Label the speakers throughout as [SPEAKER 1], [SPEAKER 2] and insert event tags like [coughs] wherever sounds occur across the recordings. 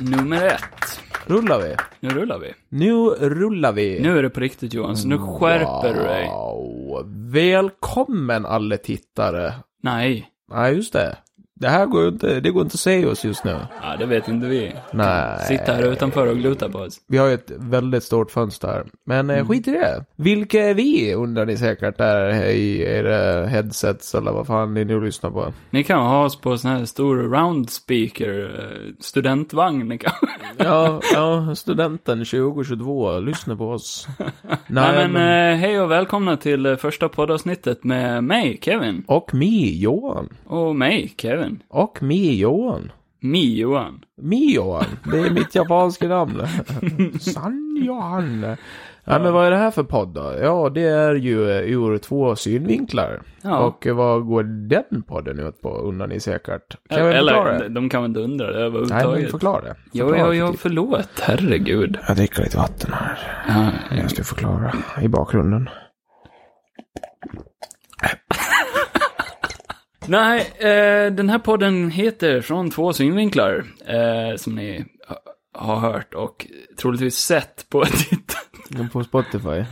[SPEAKER 1] nummer ett.
[SPEAKER 2] Rullar vi?
[SPEAKER 1] Nu rullar vi.
[SPEAKER 2] Nu rullar vi.
[SPEAKER 1] Nu är det på riktigt Johan, så nu
[SPEAKER 2] Mm,
[SPEAKER 1] skärper du dig.
[SPEAKER 2] Wow. Välkommen alla tittare.
[SPEAKER 1] Nej,
[SPEAKER 2] Nej, just det. Det här går ju inte, det går inte att se oss just nu.
[SPEAKER 1] ja, det vet inte vi.
[SPEAKER 2] Nej.
[SPEAKER 1] Sitta här utanför och gluta på oss.
[SPEAKER 2] Vi har ju ett väldigt stort fönster. Men eh, skit i det. Vilka är vi, undrar ni säkert där i era headsets eller vad fan ni nu lyssnar på.
[SPEAKER 1] Ni kan ha oss på sån här stor round speaker, eh, studentvagn ni kan. [laughs]
[SPEAKER 2] Ja, ja studenten 2022, lyssna på [laughs] oss.
[SPEAKER 1] Nej men eh, hej och välkomna till eh, första poddavsnittet med mig, Kevin.
[SPEAKER 2] Och mi Johan.
[SPEAKER 1] Och mig, Kevin.
[SPEAKER 2] Och mi Johan.
[SPEAKER 1] Mi, Johan.
[SPEAKER 2] Mi Johan. Det är mitt
[SPEAKER 1] [laughs]
[SPEAKER 2] japanska namn. San Johan. Nej men vad är det här för podd då? Ja det är ju eh, ur två synvinklar.
[SPEAKER 1] Ja.
[SPEAKER 2] Och eh, vad går den podden ut på undrar ni säkert. Kan vi förklara
[SPEAKER 1] Eller,
[SPEAKER 2] det?
[SPEAKER 1] de- de kan väl inte undra det
[SPEAKER 2] Nej men
[SPEAKER 1] överhuvudtaget.
[SPEAKER 2] förklara det.
[SPEAKER 1] Jo,
[SPEAKER 2] Förklara
[SPEAKER 1] jo,
[SPEAKER 2] för
[SPEAKER 1] jo,
[SPEAKER 2] typ.
[SPEAKER 1] förlåt. Herregud.
[SPEAKER 2] Jag dricker lite vatten här.
[SPEAKER 1] Ja,
[SPEAKER 2] Jag ska förklara i bakgrunden.
[SPEAKER 1] Nej, eh, den här podden heter Från två synvinklar, eh, som ni ha- har hört och troligtvis sett på [laughs] titeln. [laughs]
[SPEAKER 2] På Spotify.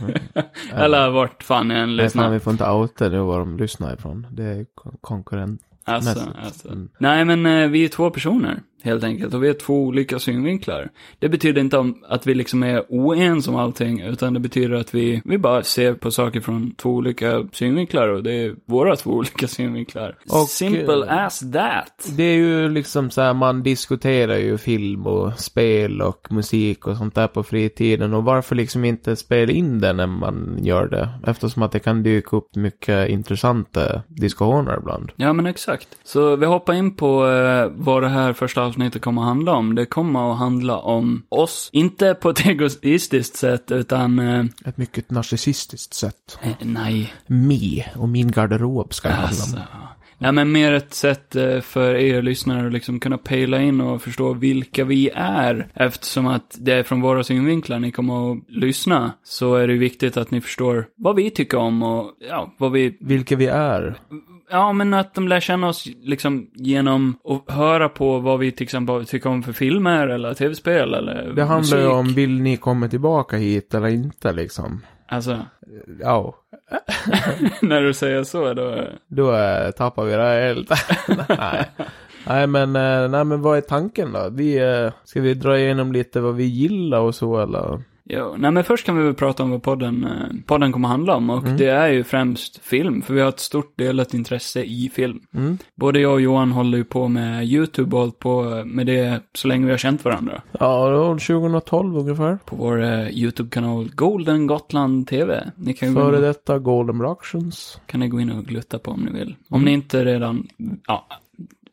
[SPEAKER 1] Eller vart fan ni än
[SPEAKER 2] Nej fan
[SPEAKER 1] lyssnar.
[SPEAKER 2] vi får inte outa det var de lyssnar ifrån. Det är kon- konkurrent.
[SPEAKER 1] Alltså,
[SPEAKER 2] mässigt.
[SPEAKER 1] alltså.
[SPEAKER 2] Mm.
[SPEAKER 1] Nej, men eh, vi är två personer, helt enkelt, och vi är två olika synvinklar. Det betyder inte om- att vi liksom är oense om allting, utan det betyder att vi, vi bara ser på saker från två olika synvinklar, och det är våra två [laughs] olika synvinklar.
[SPEAKER 2] Och,
[SPEAKER 1] Simple
[SPEAKER 2] eh,
[SPEAKER 1] as that.
[SPEAKER 2] Det är ju liksom så här, man diskuterar ju film och spel och musik och sånt där på fritiden. Och varför liksom inte spela in det när man gör det? Eftersom att det kan dyka upp mycket intressanta diskussioner ibland.
[SPEAKER 1] Ja, men exakt. Så vi hoppar in på eh, vad det här första avsnittet kommer att handla om. Det kommer att handla om oss. Inte på ett egoistiskt sätt, utan... Eh,
[SPEAKER 2] Ett mycket narcissistiskt sätt.
[SPEAKER 1] nej,
[SPEAKER 2] Me och min garderob ska det handla om.
[SPEAKER 1] alltså. Nej, men mer ett sätt eh, för er lyssnare att liksom kunna pejla in och förstå vilka vi är. Eftersom att det är från våra synvinklar ni kommer att lyssna, så är det viktigt att ni förstår vad vi tycker om och ja, vad vi
[SPEAKER 2] Vilka vi är.
[SPEAKER 1] Ja, men att de lär känna oss liksom genom att höra på vad vi till exempel tycker om för filmer eller tv-spel eller
[SPEAKER 2] Det handlar ju
[SPEAKER 1] musik.
[SPEAKER 2] om, vill ni komma tillbaka hit eller inte liksom?
[SPEAKER 1] Alltså, [laughs]
[SPEAKER 2] Ja,
[SPEAKER 1] när du säger så då...
[SPEAKER 2] då eh, tappar vi det här helt. [laughs] nej. Nej, men, eh, nej, men vad är tanken då? Vi, eh, ska vi dra igenom lite vad vi gillar och så eller?
[SPEAKER 1] Jo, nej men först kan vi väl prata om vad podden, eh, podden kommer handla om
[SPEAKER 2] Mm.
[SPEAKER 1] och det är ju främst film, för vi har ett stort delat intresse i film.
[SPEAKER 2] Mm.
[SPEAKER 1] Både jag och Johan håller ju på med YouTube och hållit på med det så länge vi har känt varandra.
[SPEAKER 2] Ja, det var 2012 ungefär.
[SPEAKER 1] På vår eh, YouTube-kanal Golden Gotland TV. Ni kan ju gå in
[SPEAKER 2] Före
[SPEAKER 1] och-
[SPEAKER 2] detta Golden Productions.
[SPEAKER 1] kan ni gå in och glutta på om ni vill. Om ni inte redan ja,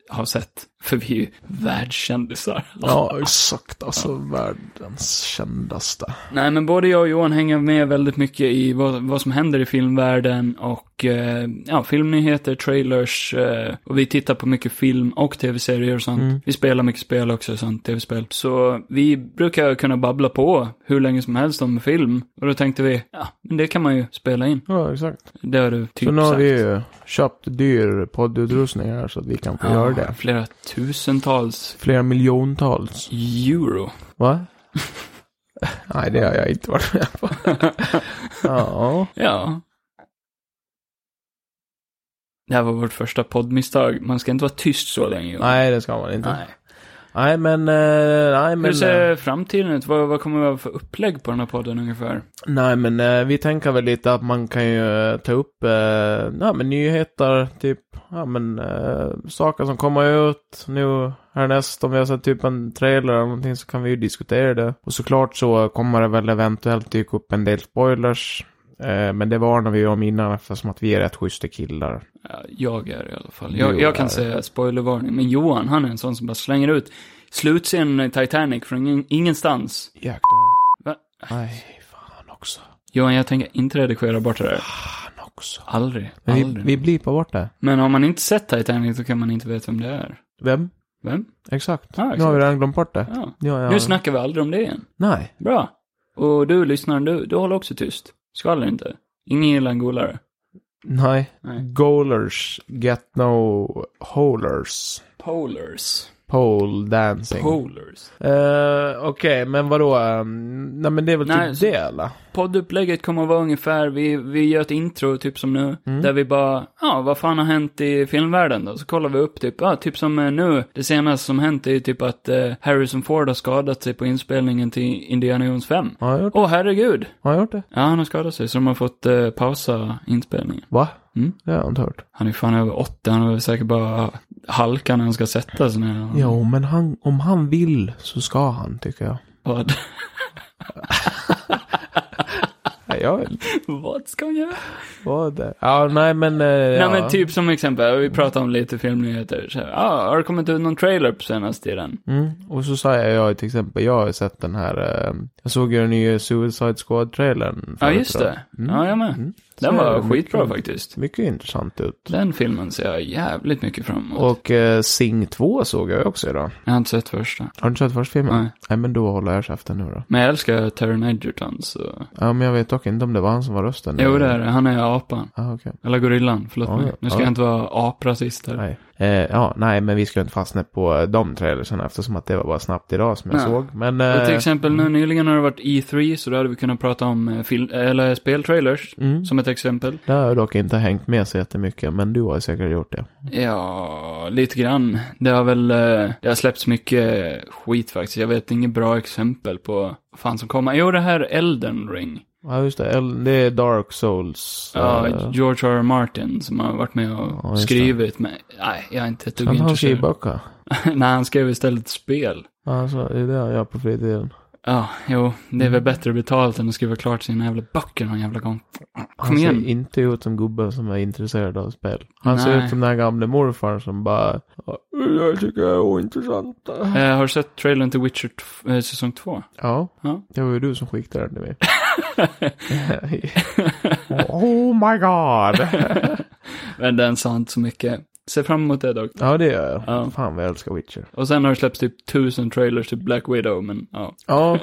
[SPEAKER 1] har sett, för vi är ju världskändisar.
[SPEAKER 2] Ja, exakt. Alltså världens kändaste.
[SPEAKER 1] Nej, men både jag och Johan hänger med väldigt mycket i vad, vad som händer i filmvärlden och eh, ja, filmnyheter, trailers eh, och vi tittar på mycket film och tv-serier och sånt.
[SPEAKER 2] Mm.
[SPEAKER 1] Vi spelar mycket spel också, sånt, tv-spel. Så vi brukar kunna babbla på hur länge som helst om film och då tänkte vi, ja, men det kan man ju spela in.
[SPEAKER 2] Ja, exakt.
[SPEAKER 1] Det har du typ
[SPEAKER 2] Så nu har
[SPEAKER 1] sagt.
[SPEAKER 2] vi ju köpt dyr poddutrustning här så att vi kan få göra det.
[SPEAKER 1] Flera tusentals
[SPEAKER 2] Flera miljontals.
[SPEAKER 1] euro.
[SPEAKER 2] [laughs] Va? Nej, det har jag inte varit med på. ja.
[SPEAKER 1] Ja. Det här var vårt första poddmisstag. Man ska inte vara tyst så länge. Johan.
[SPEAKER 2] Nej, det ska man inte.
[SPEAKER 1] Nej.
[SPEAKER 2] Nej men, eh, nej
[SPEAKER 1] Hur
[SPEAKER 2] men, eh,
[SPEAKER 1] ser framtiden ut? Vad, vad kommer vi ha för upplägg på den här podden ungefär?
[SPEAKER 2] nej men eh, vi tänker väl lite att man kan ju eh, ta upp, eh, ja men nyheter, typ, ja men eh, saker som kommer ut nu härnäst. Om vi har sett typ en trailer eller någonting så kan vi ju diskutera det. Och såklart så kommer det väl eventuellt dyka upp en del spoilers. Eh, men det varnar vi ju om innan eftersom att vi är rätt schyssta killar.
[SPEAKER 1] Ja, Jag är i alla fall. Jag,
[SPEAKER 2] Jo,
[SPEAKER 1] jag kan
[SPEAKER 2] nej.
[SPEAKER 1] säga spoilervarning, men Johan, han är en sån som bara slänger ut slutscenen i Titanic från ingen, ingenstans.
[SPEAKER 2] Jäklar.
[SPEAKER 1] Va?
[SPEAKER 2] Nej, fan också.
[SPEAKER 1] Johan, jag tänker inte redigera bort det där.
[SPEAKER 2] Fan också.
[SPEAKER 1] Aldrig.
[SPEAKER 2] Men
[SPEAKER 1] Aldrig.
[SPEAKER 2] vi, vi blipar bort det.
[SPEAKER 1] Men har man inte sett Titanic så kan man inte veta vem det är.
[SPEAKER 2] Vem?
[SPEAKER 1] Vem?
[SPEAKER 2] Exakt.
[SPEAKER 1] Ja,
[SPEAKER 2] Nu har vi redan glömt bort det.
[SPEAKER 1] Ja.
[SPEAKER 2] Ja, ja.
[SPEAKER 1] Nu snackar vi aldrig om det igen.
[SPEAKER 2] Nej.
[SPEAKER 1] Bra. Och du lyssnaren, du, du håller också tyst. Skvaller inte. Ingen gillar en golare.
[SPEAKER 2] Nej.
[SPEAKER 1] Nej.
[SPEAKER 2] Goalers get no holers.
[SPEAKER 1] Polars.
[SPEAKER 2] Pole dancing.
[SPEAKER 1] Polers.
[SPEAKER 2] Eh, Okej, men vadå? ehm, nej men det är väl
[SPEAKER 1] Nej,
[SPEAKER 2] typ
[SPEAKER 1] så-
[SPEAKER 2] det eller?
[SPEAKER 1] Poddupplägget kommer att vara ungefär, vi, vi gör ett intro typ som nu, där vi bara, ja, vad fan har hänt i filmvärlden då? Så kollar vi upp typ, ja, typ som eh, nu, det senaste som hänt är ju typ att eh, Harrison Ford har skadat sig på inspelningen till Indiana Jones 5.
[SPEAKER 2] Har jag gjort,
[SPEAKER 1] Åh, herregud!
[SPEAKER 2] har jag gjort det?
[SPEAKER 1] Ja, han har skadat sig, så de har fått eh, pausa inspelningen.
[SPEAKER 2] Va?
[SPEAKER 1] Mm.
[SPEAKER 2] Det har jag inte hört.
[SPEAKER 1] Han är fan över 80, han har väl säkert bara halka när han ska sätta sig ner.
[SPEAKER 2] Jo, men han, om han vill så ska han tycker jag.
[SPEAKER 1] Vad,
[SPEAKER 2] Nej, jag vet inte.
[SPEAKER 1] vad ska han göra?
[SPEAKER 2] Vad det? Ja, nej men... eh, ja.
[SPEAKER 1] Nej men typ som exempel, vi pratade om lite filmnyheter. Så, här, ah, har det kommit ut någon trailer på senaste tiden?
[SPEAKER 2] Mm. Och så sa jag, jag till exempel, jag har ju sett den här, eh, jag såg ju den nya Suicide Squad-trailern.
[SPEAKER 1] Ja
[SPEAKER 2] förut
[SPEAKER 1] just
[SPEAKER 2] då.
[SPEAKER 1] det. Ja, jag med.
[SPEAKER 2] Mm. Så
[SPEAKER 1] Den
[SPEAKER 2] är
[SPEAKER 1] var
[SPEAKER 2] det mycket
[SPEAKER 1] skitbra
[SPEAKER 2] kul.
[SPEAKER 1] faktiskt.
[SPEAKER 2] Mycket intressant ut.
[SPEAKER 1] Den filmen ser jag jävligt mycket fram emot.
[SPEAKER 2] Och eh, Sing 2 såg jag ju också idag.
[SPEAKER 1] Jag har inte sett första.
[SPEAKER 2] Har du inte sett första filmen?
[SPEAKER 1] Nej.
[SPEAKER 2] Nej, men då håller jag käften nu då.
[SPEAKER 1] Men jag älskar Taron Edgerton så.
[SPEAKER 2] Ja, men jag vet dock inte om det var han som var rösten.
[SPEAKER 1] Jo det är det. han är apan.
[SPEAKER 2] Ah, okej.
[SPEAKER 1] Eller gorillan, förlåt
[SPEAKER 2] Ja,
[SPEAKER 1] mig.
[SPEAKER 2] ja.
[SPEAKER 1] Nu ska
[SPEAKER 2] Ja.
[SPEAKER 1] jag inte vara aprasist här.
[SPEAKER 2] Nej. Eh, ja, nej, men vi ska ju inte fastna på eh, de trailersen eftersom att det var bara snabbt idag som jag
[SPEAKER 1] Nej.
[SPEAKER 2] såg. Men...
[SPEAKER 1] Och till
[SPEAKER 2] Eh,
[SPEAKER 1] exempel nu nyligen har det varit E3, så då hade vi kunnat prata om eh, fil- eller speltrailers,
[SPEAKER 2] mm,
[SPEAKER 1] som ett exempel.
[SPEAKER 2] det har jag dock inte hängt med så jättemycket, men du har ju säkert gjort det.
[SPEAKER 1] Ja, lite grann. Det har väl, eh, det har släppts mycket skit faktiskt. Jag vet inget bra exempel på vad fan som kommer. Jo, det här Elden Ring.
[SPEAKER 2] Ja, just det. El- Det är Dark Souls.
[SPEAKER 1] Ja,
[SPEAKER 2] eh,
[SPEAKER 1] George R. R. Martin som har varit med och
[SPEAKER 2] Ja, just det.
[SPEAKER 1] skrivit, men nej, jag är inte ett dugg
[SPEAKER 2] han har skrivit
[SPEAKER 1] intresserad.
[SPEAKER 2] böcker.
[SPEAKER 1] [laughs] nej, han skrev istället ett spel.
[SPEAKER 2] Alltså, det är det jag gör på fritiden.
[SPEAKER 1] Ja, jo, det
[SPEAKER 2] Mm.
[SPEAKER 1] är väl bättre betalt än att skriva klart sina jävla böcker någon jävla gång.
[SPEAKER 2] Han
[SPEAKER 1] Kom
[SPEAKER 2] ser
[SPEAKER 1] igen.
[SPEAKER 2] inte ut som gubben som är intresserad av spel. Han ser
[SPEAKER 1] Nej.
[SPEAKER 2] ut som den här gamle morfar som bara... Jag tycker jag är ointressant.
[SPEAKER 1] Eh, har du sett trailern till Witcher t- eh, säsong
[SPEAKER 2] [laughs]
[SPEAKER 1] 2?
[SPEAKER 2] Ja,
[SPEAKER 1] Ja.
[SPEAKER 2] det var ju du som skickade den till
[SPEAKER 1] [laughs]
[SPEAKER 2] mig. oh my god!
[SPEAKER 1] Men den sa inte så mycket. Se fram emot det dock.
[SPEAKER 2] Ja, det gör jag.
[SPEAKER 1] Ja.
[SPEAKER 2] Fan vad jag älskar Witcher.
[SPEAKER 1] Och sen har det släppts typ tusen trailers till Black Widow, men ja.
[SPEAKER 2] Ja,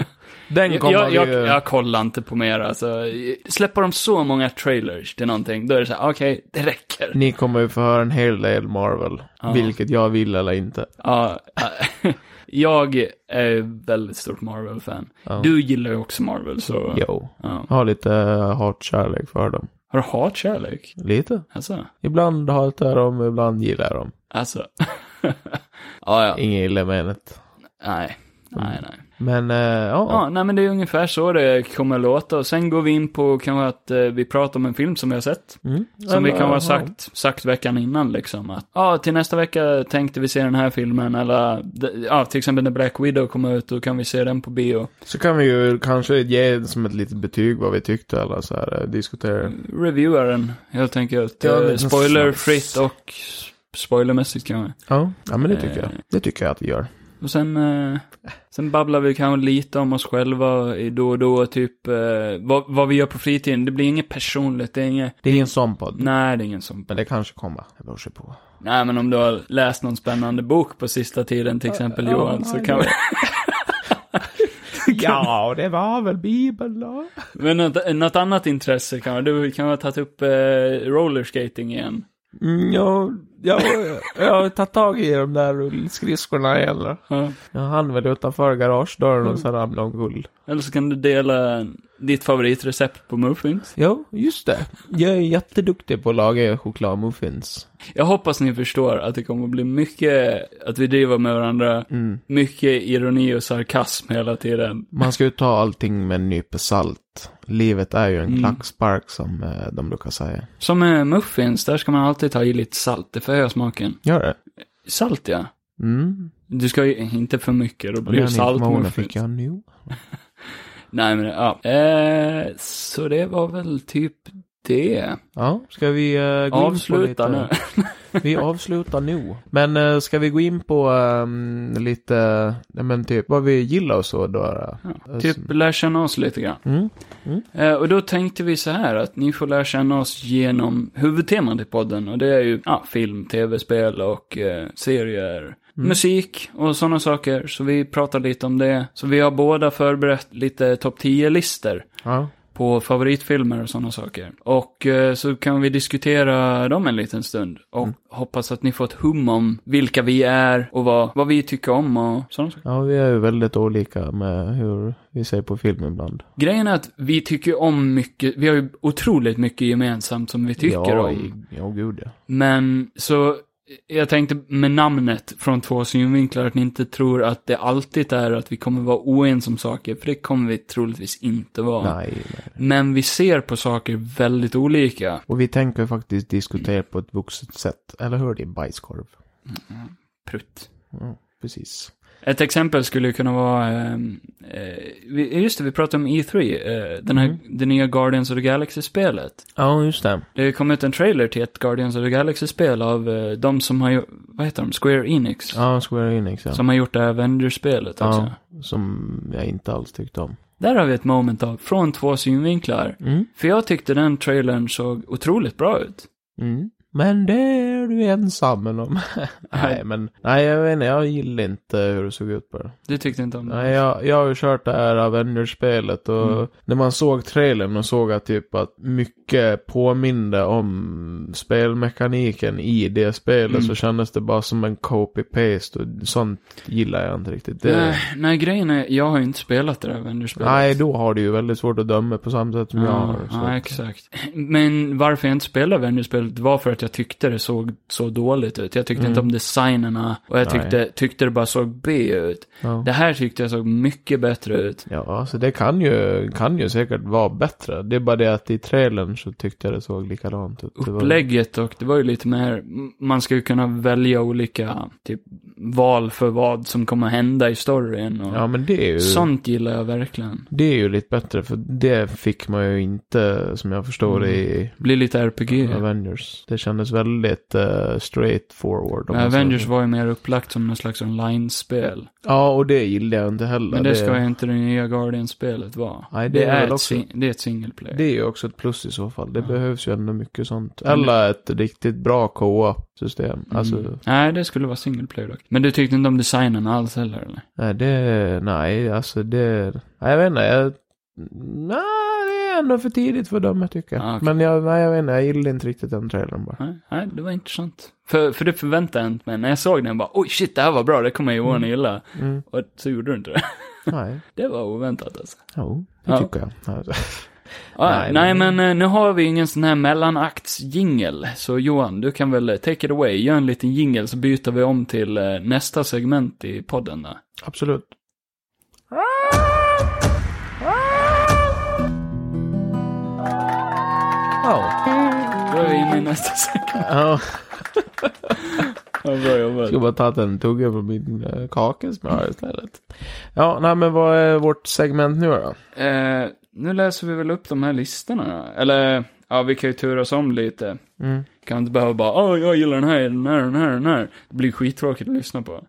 [SPEAKER 2] den
[SPEAKER 1] Jag,
[SPEAKER 2] kommer
[SPEAKER 1] jag,
[SPEAKER 2] vi
[SPEAKER 1] jag,
[SPEAKER 2] ju...
[SPEAKER 1] jag kollar inte på mer alltså. Släpper de så många trailers till någonting, då är det så här, okej, det räcker.
[SPEAKER 2] Ni kommer ju få höra en hel del Marvel.
[SPEAKER 1] Ja.
[SPEAKER 2] Vilket jag vill eller inte.
[SPEAKER 1] Ja, äh, [laughs] jag är väldigt stort Marvel-fan.
[SPEAKER 2] Ja.
[SPEAKER 1] Du gillar ju också Marvel, så...
[SPEAKER 2] Jo.
[SPEAKER 1] Ja.
[SPEAKER 2] Jag har lite eh, hatkärlek för dem.
[SPEAKER 1] Har du hatkärlek?
[SPEAKER 2] Lite.
[SPEAKER 1] Alltså?
[SPEAKER 2] Ibland hatar jag dem, ibland gillar jag dem.
[SPEAKER 1] Alltså? [laughs] ja, ja.
[SPEAKER 2] Ingen illa menet.
[SPEAKER 1] Nej. Nej, nej.
[SPEAKER 2] Men eh, ja,
[SPEAKER 1] Ja, nej men det är ungefär så det kommer låta. Och sen går vi in på kanske att eh, vi pratar om en film som vi har sett.
[SPEAKER 2] Mm.
[SPEAKER 1] Som vi
[SPEAKER 2] Eller,
[SPEAKER 1] kan ha
[SPEAKER 2] ja.
[SPEAKER 1] sagt, sagt veckan innan liksom att, ja till nästa vecka tänkte vi se den här filmen eller, d- ja till exempel när Black Widow kommer ut, då kan vi se den på bio.
[SPEAKER 2] Så kan vi ju kanske ge som ett litet betyg vad vi tyckte eller så här eh, diskutera.
[SPEAKER 1] Reviewa den helt enkelt.
[SPEAKER 2] Ja,
[SPEAKER 1] Ja,
[SPEAKER 2] men-
[SPEAKER 1] Spoilerfritt och spoilermässigt kanske.
[SPEAKER 2] Ja, ja men det tycker jag.
[SPEAKER 1] Eh.
[SPEAKER 2] Det tycker jag att vi gör.
[SPEAKER 1] Och sen, eh, sen babblar vi kanske lite om oss själva i då och då, typ eh, vad, vad vi gör på fritiden. Det blir inget personligt, det är inget,
[SPEAKER 2] Det är ingen sån podd.
[SPEAKER 1] nej det är ingen sån.
[SPEAKER 2] Men det kanske kommer. Det beror sig på.
[SPEAKER 1] Nej men om du har läst någon spännande bok på sista tiden, till exempel
[SPEAKER 2] Ja,
[SPEAKER 1] Johan, så kan vi
[SPEAKER 2] [laughs] ja, det var väl Bibeln då.
[SPEAKER 1] Men något, något annat intresse kan Du kan ha tagit upp eh, rollerskating igen.
[SPEAKER 2] Mm, jag, jag, jag har tagit tag i de där rullskridskorna igen. då.
[SPEAKER 1] Ja.
[SPEAKER 2] Jag hann väl utanför garagedörren och så ramlade omkull.
[SPEAKER 1] Eller så kan du dela ditt favoritrecept på muffins.
[SPEAKER 2] Jo, just det. Jag är jätteduktig på att laga chokladmuffins.
[SPEAKER 1] Jag hoppas ni förstår att det kommer att bli mycket, att vi driver med varandra,
[SPEAKER 2] Mm.
[SPEAKER 1] mycket ironi och sarkasm hela tiden.
[SPEAKER 2] Man ska ju ta allting med en nypa salt. Livet är ju en
[SPEAKER 1] Mm.
[SPEAKER 2] klackspark som eh, de brukar säga.
[SPEAKER 1] Som med muffins, där ska man alltid ta i lite salt, det förhöjer smaken.
[SPEAKER 2] Gör det?
[SPEAKER 1] Salt ja.
[SPEAKER 2] Mm.
[SPEAKER 1] Du ska ju inte för mycket, då blir
[SPEAKER 2] Den
[SPEAKER 1] det
[SPEAKER 2] informationen
[SPEAKER 1] saltmuffins.
[SPEAKER 2] fick jag nu.
[SPEAKER 1] Nej men ja. Eh, så det var väl typ det.
[SPEAKER 2] Ja, ska vi eh, gå in på
[SPEAKER 1] Avsluta nu. [laughs]
[SPEAKER 2] lite... Vi avslutar nu. Men eh, ska vi gå in på ehm, lite, ja, men typ vad vi gillar och så då? eh?
[SPEAKER 1] Ja, typ lär känna oss lite grann.
[SPEAKER 2] Mm.
[SPEAKER 1] Eh, och då tänkte vi så här att ni får lära känna oss genom huvudtemat i podden. Och det är ju ja, film, tv-spel och eh, serier. Musik och sådana saker. Så vi pratar lite om det. Så vi har båda förberett lite topp 10-listor.
[SPEAKER 2] Ja.
[SPEAKER 1] på favoritfilmer och sådana saker. Och eh, så kan vi diskutera dem en liten stund. Och hoppas att ni får ett hum om vilka vi är och vad, vad vi tycker om och sådana saker.
[SPEAKER 2] Ja, vi är ju väldigt olika med hur vi ser på film ibland.
[SPEAKER 1] Grejen är att vi tycker om mycket, vi har ju otroligt mycket gemensamt som vi tycker
[SPEAKER 2] ja,
[SPEAKER 1] om.
[SPEAKER 2] i- Ja, gud ja.
[SPEAKER 1] Men så, jag tänkte med namnet från två synvinklar, att ni inte tror att det alltid är att vi kommer vara oense om saker, för det kommer vi troligtvis inte vara.
[SPEAKER 2] Nej, nej.
[SPEAKER 1] Men vi ser på saker väldigt olika.
[SPEAKER 2] Och vi tänker faktiskt diskutera på ett vuxet sätt. Eller hur? Din bajskorv.
[SPEAKER 1] Prutt.
[SPEAKER 2] Ja, precis.
[SPEAKER 1] Ett exempel skulle ju kunna vara, eh, eh, vi- just det, vi pratade om E3, eh, den
[SPEAKER 2] Mm.
[SPEAKER 1] här, det nya Guardians of the Galaxy-spelet.
[SPEAKER 2] Ja, just det.
[SPEAKER 1] Det kom ut en trailer till ett Guardians of the Galaxy-spel av eh, de som har gjort, vad heter de, Square Enix.
[SPEAKER 2] Ja, Square Enix ja.
[SPEAKER 1] Som har gjort det här Avengers-spelet också.
[SPEAKER 2] ja, liksom. som jag inte alls tyckte om.
[SPEAKER 1] Där har vi ett moment av, från två synvinklar.
[SPEAKER 2] Mm.
[SPEAKER 1] För jag tyckte den trailern såg otroligt bra ut.
[SPEAKER 2] Mm. Men det är du ensam om. [laughs] nej, men nej, jag vet inte. Jag gillar inte hur det såg ut på det.
[SPEAKER 1] Du tyckte inte om den?
[SPEAKER 2] Nej, jag, jag har ju kört det här Avengers-spelet och
[SPEAKER 1] Mm.
[SPEAKER 2] när man såg trailern och såg att typ att mycket påminde om spelmekaniken i det spelet
[SPEAKER 1] Mm.
[SPEAKER 2] så kändes det bara som en copy-paste och sånt gillar jag inte riktigt. Det,
[SPEAKER 1] Nej, nej, grejen är, jag har ju inte spelat det där Avengers-spelet.
[SPEAKER 2] nej, då har du ju väldigt svårt att döma på samma sätt som jag
[SPEAKER 1] Ja,
[SPEAKER 2] har. så
[SPEAKER 1] ja,
[SPEAKER 2] att-
[SPEAKER 1] exakt. Men varför jag inte spelade Avengers-spelet var för att jag tyckte det såg så dåligt ut. Jag tyckte
[SPEAKER 2] Mm.
[SPEAKER 1] inte om designerna och jag
[SPEAKER 2] Nej.
[SPEAKER 1] tyckte, tyckte det bara såg B ut.
[SPEAKER 2] ja.
[SPEAKER 1] Det här tyckte jag såg mycket bättre ut.
[SPEAKER 2] Ja, så det kan ju, kan ju säkert vara bättre. Det är bara det att i trailern så tyckte jag det såg likadant ut. Det var-
[SPEAKER 1] Upplägget och det var ju lite mer, man ska ju kunna välja olika typ val för vad som kommer hända i storyn och
[SPEAKER 2] Ja, men det är ju...
[SPEAKER 1] sånt gillar jag verkligen.
[SPEAKER 2] Det är ju lite bättre för det fick man ju inte som jag förstår
[SPEAKER 1] Mm.
[SPEAKER 2] i
[SPEAKER 1] Blir lite RPG.
[SPEAKER 2] Avengers. Det kändes väldigt eh, straight forward. om man säger
[SPEAKER 1] Avengers
[SPEAKER 2] så.
[SPEAKER 1] var ju mer upplagt som någon slags online-spel.
[SPEAKER 2] Ja, och det gillade jag inte heller.
[SPEAKER 1] Men det ska ju inte det nya Guardian-spelet vara.
[SPEAKER 2] Nej, det
[SPEAKER 1] Det
[SPEAKER 2] är väl
[SPEAKER 1] är, ett,
[SPEAKER 2] också-
[SPEAKER 1] sing- det är ett single player.
[SPEAKER 2] Det är ju också ett plus i så fall. Det
[SPEAKER 1] Ja.
[SPEAKER 2] behövs ju ändå mycket sånt.
[SPEAKER 1] Men-
[SPEAKER 2] Eller ett riktigt bra co-op-system.
[SPEAKER 1] Mm.
[SPEAKER 2] Alltså,
[SPEAKER 1] Nej, det skulle vara single player dock. Men du tyckte inte om designen alls heller eller?
[SPEAKER 2] nej, det... Nej, alltså det... Nej, jag vet inte. Jag, nej, det är ändå för tidigt för dem, jag tycker.
[SPEAKER 1] Ah, okej.
[SPEAKER 2] Men jag, nej, jag vet inte. Jag gillade inte riktigt den trailern bara.
[SPEAKER 1] Nej, nej det var intressant. För, för det förväntade jag inte mig. När jag såg den jag bara, oj shit, det här var bra, det kommer Johan att gilla. [laughs]
[SPEAKER 2] Mm.
[SPEAKER 1] Och så gjorde du inte det.
[SPEAKER 2] Nej,
[SPEAKER 1] Det var oväntat alltså.
[SPEAKER 2] jo, det [laughs]
[SPEAKER 1] Ja.
[SPEAKER 2] tycker jag. Alltså.
[SPEAKER 1] Ah, nej,
[SPEAKER 2] Nej,
[SPEAKER 1] men eh, nu har vi ingen sån här mellanaktsjingel. Så Johan, du kan väl eh, take it away, gör en liten jingel så byter vi om till eh, nästa segment i podden där.
[SPEAKER 2] Absolut. Ja.
[SPEAKER 1] Då är vi inne i nästa [laughs] segment.
[SPEAKER 2] Ja.
[SPEAKER 1] Ja, bra
[SPEAKER 2] Jag
[SPEAKER 1] jobbat.
[SPEAKER 2] ska bara ta en tugga från min eh, kaka som jag har istället. Ja, nej men vad är vårt segment nu då?
[SPEAKER 1] Eh, nu läser vi väl upp de här listorna då. Eller, ja vi kan ju turas om lite.
[SPEAKER 2] Mm.
[SPEAKER 1] Kan inte behöva bara, åh jag gillar den här, den här, den här, den här. Det blir skittråkigt att lyssna på.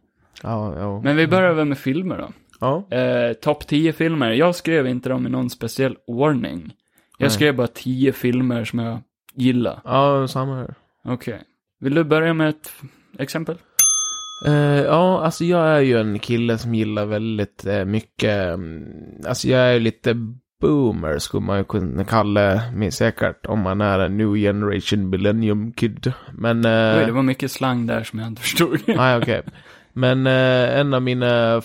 [SPEAKER 2] Ja, ja.
[SPEAKER 1] Men vi börjar väl med filmer då.
[SPEAKER 2] ja.
[SPEAKER 1] Eh, Topp 10 filmer. Jag skrev inte dem i någon speciell ordning. Jag
[SPEAKER 2] Nej.
[SPEAKER 1] skrev bara 10 filmer som jag gillar.
[SPEAKER 2] Ja, samma här.
[SPEAKER 1] Okej. Vill du börja med ett f- exempel?
[SPEAKER 2] Eh, ja, alltså jag är ju en kille som gillar väldigt eh, mycket, mm, alltså jag är ju lite boomer skulle man ju kunna kalla mig säkert om man är en new generation millennium kid. Men... eh,
[SPEAKER 1] Oj, det var mycket slang där som jag inte [laughs] förstod.
[SPEAKER 2] Nej, okej. Men eh, en av mina eh,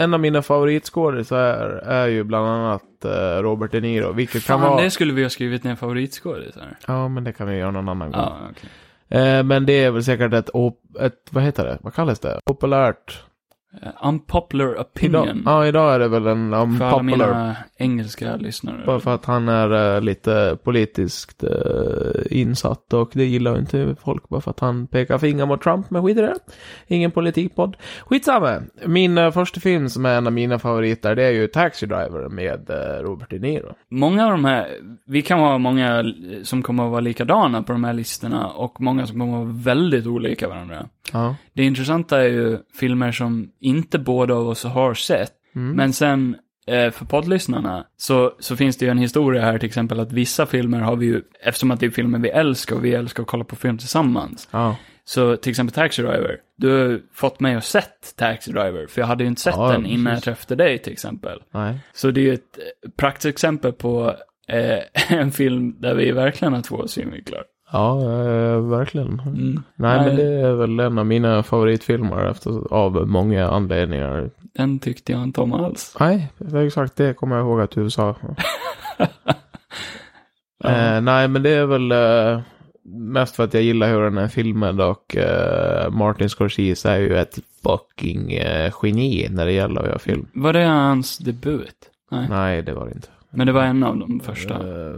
[SPEAKER 2] en av mina favoritskådisar är ju bland annat eh, Robert De Niro, vilket
[SPEAKER 1] Fan,
[SPEAKER 2] kan vara...
[SPEAKER 1] det skulle vi ha skrivit ner favoritskådisar.
[SPEAKER 2] Ja, men det kan vi göra någon annan gång.
[SPEAKER 1] Ja, okej.
[SPEAKER 2] Eh, men det är väl säkert ett, op... ett... Vad heter det? Vad kallas det? Populärt?
[SPEAKER 1] Eh, Unpopular
[SPEAKER 2] Idag...
[SPEAKER 1] opinion.
[SPEAKER 2] Ja, idag är det väl en
[SPEAKER 1] För alla
[SPEAKER 2] unpopular...
[SPEAKER 1] mina engelska lyssnare.
[SPEAKER 2] Bara för att han är eh, lite politiskt eh, insatt och det gillar ju inte folk bara för att han pekar finger mot Trump, men skit i det. Ingen politikpodd. Skitsamma! Min eh, första film som är en av mina favoriter, det är ju Taxi Driver med eh, Robert De Niro.
[SPEAKER 1] Många av de här, vi kan ha många som kommer att vara likadana på de här listorna och många som kommer att vara väldigt olika varandra.
[SPEAKER 2] Ja.
[SPEAKER 1] Det intressanta är ju filmer som inte båda av oss har sett,
[SPEAKER 2] Mm.
[SPEAKER 1] men sen eh, för poddlyssnarna så, så finns det ju en historia här till exempel att vissa filmer har vi ju, eftersom att det är filmer vi älskar och vi älskar att kolla på film tillsammans,
[SPEAKER 2] Ja.
[SPEAKER 1] Så till exempel Taxi Driver, du har ju fått mig att sett Taxi Driver, för jag hade ju inte sett
[SPEAKER 2] Ja,
[SPEAKER 1] den
[SPEAKER 2] ja,
[SPEAKER 1] innan jag
[SPEAKER 2] precis.
[SPEAKER 1] träffade dig till exempel.
[SPEAKER 2] Nej.
[SPEAKER 1] Så det är ju ett eh, praktexempel på eh, [laughs] en film där vi verkligen har två synvinklar.
[SPEAKER 2] Ja, eh, verkligen.
[SPEAKER 1] Mm.
[SPEAKER 2] Nej,
[SPEAKER 1] Nej.
[SPEAKER 2] men det är väl en av mina favoritfilmer efter, av många anledningar.
[SPEAKER 1] Den tyckte jag inte om alls.
[SPEAKER 2] Nej, det är exakt det kommer jag ihåg att du sa.
[SPEAKER 1] Ja.
[SPEAKER 2] Eh, nej, men det är väl eh, mest för att jag gillar hur den är filmad och eh, Martin Scorsese är ju ett fucking eh, geni när det gäller att göra film.
[SPEAKER 1] Var det hans debut? Nej.
[SPEAKER 2] Nej, det var det inte.
[SPEAKER 1] Men det var en av de första.
[SPEAKER 2] Eh,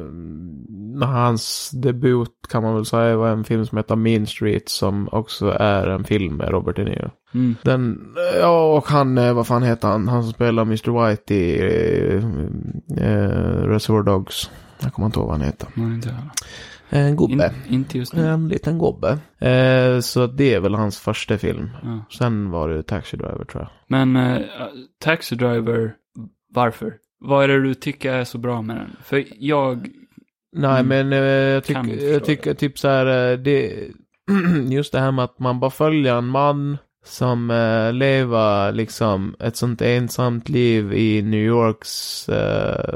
[SPEAKER 2] hans debut kan man väl säga var en film som heter Mean Street som också är en film med Robert De Niro.
[SPEAKER 1] Mm.
[SPEAKER 2] Den, ja och han, eh, vad fan heter han, han som spelar Mr. White i eh, eh, Reservoir Dogs. Jag kommer inte ihåg vad han heter.
[SPEAKER 1] Nej, inte jag.
[SPEAKER 2] En gubbe.
[SPEAKER 1] In, inte just nu.
[SPEAKER 2] En liten gobbe. Eh, så det är väl hans första film.
[SPEAKER 1] Ja.
[SPEAKER 2] Sen var det Taxi Driver tror jag.
[SPEAKER 1] Men eh, Taxi Driver, varför? Vad är det du tycker är så bra med den? För jag,
[SPEAKER 2] Nej
[SPEAKER 1] Mm.
[SPEAKER 2] men eh, jag
[SPEAKER 1] Kan inte
[SPEAKER 2] tycker
[SPEAKER 1] förstå
[SPEAKER 2] jag tycker typ så här, eh, det, [clears throat] just det här med att man bara följer en man som eh, lever liksom ett sånt ensamt liv i New Yorks eh,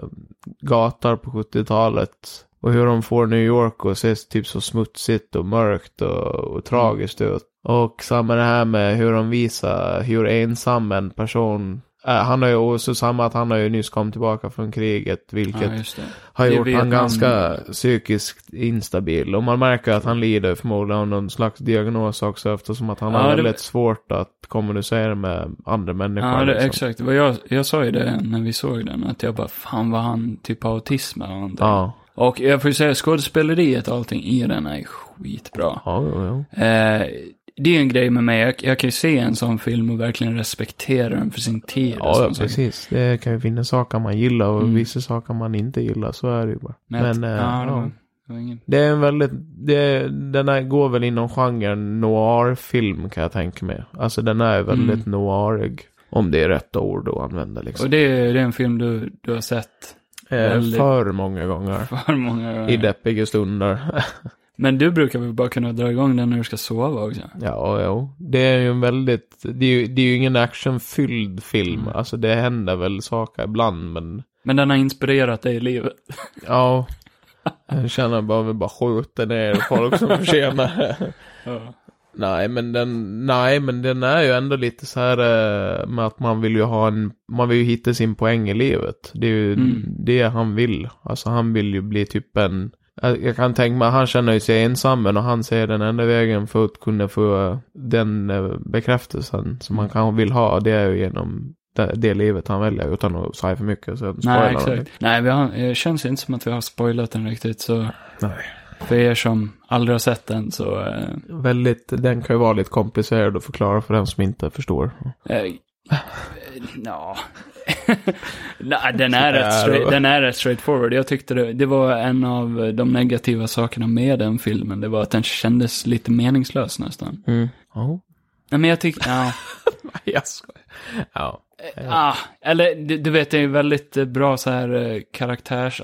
[SPEAKER 2] gator på 70-talet. Och hur de får New York att se typ så smutsigt och mörkt och,
[SPEAKER 1] Mm.
[SPEAKER 2] och tragiskt ut. Och samma det här med hur de visar hur ensam en person är. Han har ju, och så samma att han har ju nyss kommit tillbaka från kriget, vilket
[SPEAKER 1] ja just det.
[SPEAKER 2] har
[SPEAKER 1] Det
[SPEAKER 2] gjort
[SPEAKER 1] vet
[SPEAKER 2] han
[SPEAKER 1] man.
[SPEAKER 2] ganska psykiskt instabil. Och man märker att han lider förmodligen av någon slags diagnos också eftersom att han
[SPEAKER 1] Ja,
[SPEAKER 2] har
[SPEAKER 1] det-
[SPEAKER 2] väldigt svårt att kommunicera med andra människor.
[SPEAKER 1] Ja, det,
[SPEAKER 2] liksom.
[SPEAKER 1] exakt. Vad jag, jag sa ju det när vi såg den, att jag bara, fan vad han typ har autism eller någonting.
[SPEAKER 2] Ja,
[SPEAKER 1] Och jag får ju säga, skådespeleriet och allting i den är skitbra.
[SPEAKER 2] ja, jo, jo.
[SPEAKER 1] Eh, det är en grej med mig, jag, jag kan ju se en sån film och verkligen respektera den för sin tid. och
[SPEAKER 2] ja, ja
[SPEAKER 1] sån sak.
[SPEAKER 2] precis. Det kan ju finnas saker man gillar och
[SPEAKER 1] Mm.
[SPEAKER 2] vissa saker man inte gillar. Så är det ju bara.
[SPEAKER 1] Men,
[SPEAKER 2] Men,
[SPEAKER 1] att-
[SPEAKER 2] eh,
[SPEAKER 1] ja, det var,
[SPEAKER 2] ja.
[SPEAKER 1] det var ingen...
[SPEAKER 2] Det är en väldigt, det, den här går väl inom genren noir-film kan jag tänka mig. Alltså den är
[SPEAKER 1] Mm.
[SPEAKER 2] väldigt noirig. Om det är rätta ord att använda liksom.
[SPEAKER 1] Och det, är- det är en film du, du har sett [laughs]
[SPEAKER 2] Eh,
[SPEAKER 1] väldigt-
[SPEAKER 2] För många gånger.
[SPEAKER 1] för många gånger.
[SPEAKER 2] I deppiga stunder.
[SPEAKER 1] Men du brukar väl bara kunna dra igång den när du ska sova också?
[SPEAKER 2] [laughs] Ja, jo. Det är ju en väldigt, det är ju, det är ju ingen actionfylld film.
[SPEAKER 1] Mm.
[SPEAKER 2] Alltså det händer väl saker ibland, men
[SPEAKER 1] Men den har inspirerat dig i livet.
[SPEAKER 2] ja. Jag känner bara, vi bara skjuter ner folk som [laughs] förtjänar
[SPEAKER 1] Ja.
[SPEAKER 2] Nej, men den, nej, men den är ju ändå lite så här eh, med att man vill ju ha en, man vill ju hitta sin poäng i livet. Det är ju
[SPEAKER 1] Mm.
[SPEAKER 2] det han vill. Alltså han vill ju bli typ en, jag jag kan tänka mig, han känner ju sig ensam men och han ser den enda vägen för att kunna få eh, den eh, bekräftelsen som han kan, vill ha, det är ju genom det, det livet han väljer utan att säga för mycket. Så spoilar
[SPEAKER 1] Nej,
[SPEAKER 2] han
[SPEAKER 1] exakt.
[SPEAKER 2] det.
[SPEAKER 1] Nej, vi har, det känns inte som att vi har spoilat den riktigt, så
[SPEAKER 2] Nej.
[SPEAKER 1] för er som aldrig har sett den så... Eh,
[SPEAKER 2] Väldigt, den kan ju vara lite komplicerad att förklara för den som inte förstår.
[SPEAKER 1] eh, [laughs] ja. [laughs] Nej, den är, rätt
[SPEAKER 2] Ja, det
[SPEAKER 1] straight,
[SPEAKER 2] var-
[SPEAKER 1] den är rätt straightforward. Jag tyckte det, det var en av de negativa sakerna med den filmen. Det var att den kändes lite meningslös nästan.
[SPEAKER 2] Mm.
[SPEAKER 1] Nej, men jag tyckte... Ja.
[SPEAKER 2] [laughs] Jag skojar. Ja.
[SPEAKER 1] Ah, eller du, du vet, det är väldigt eh, bra så här eh,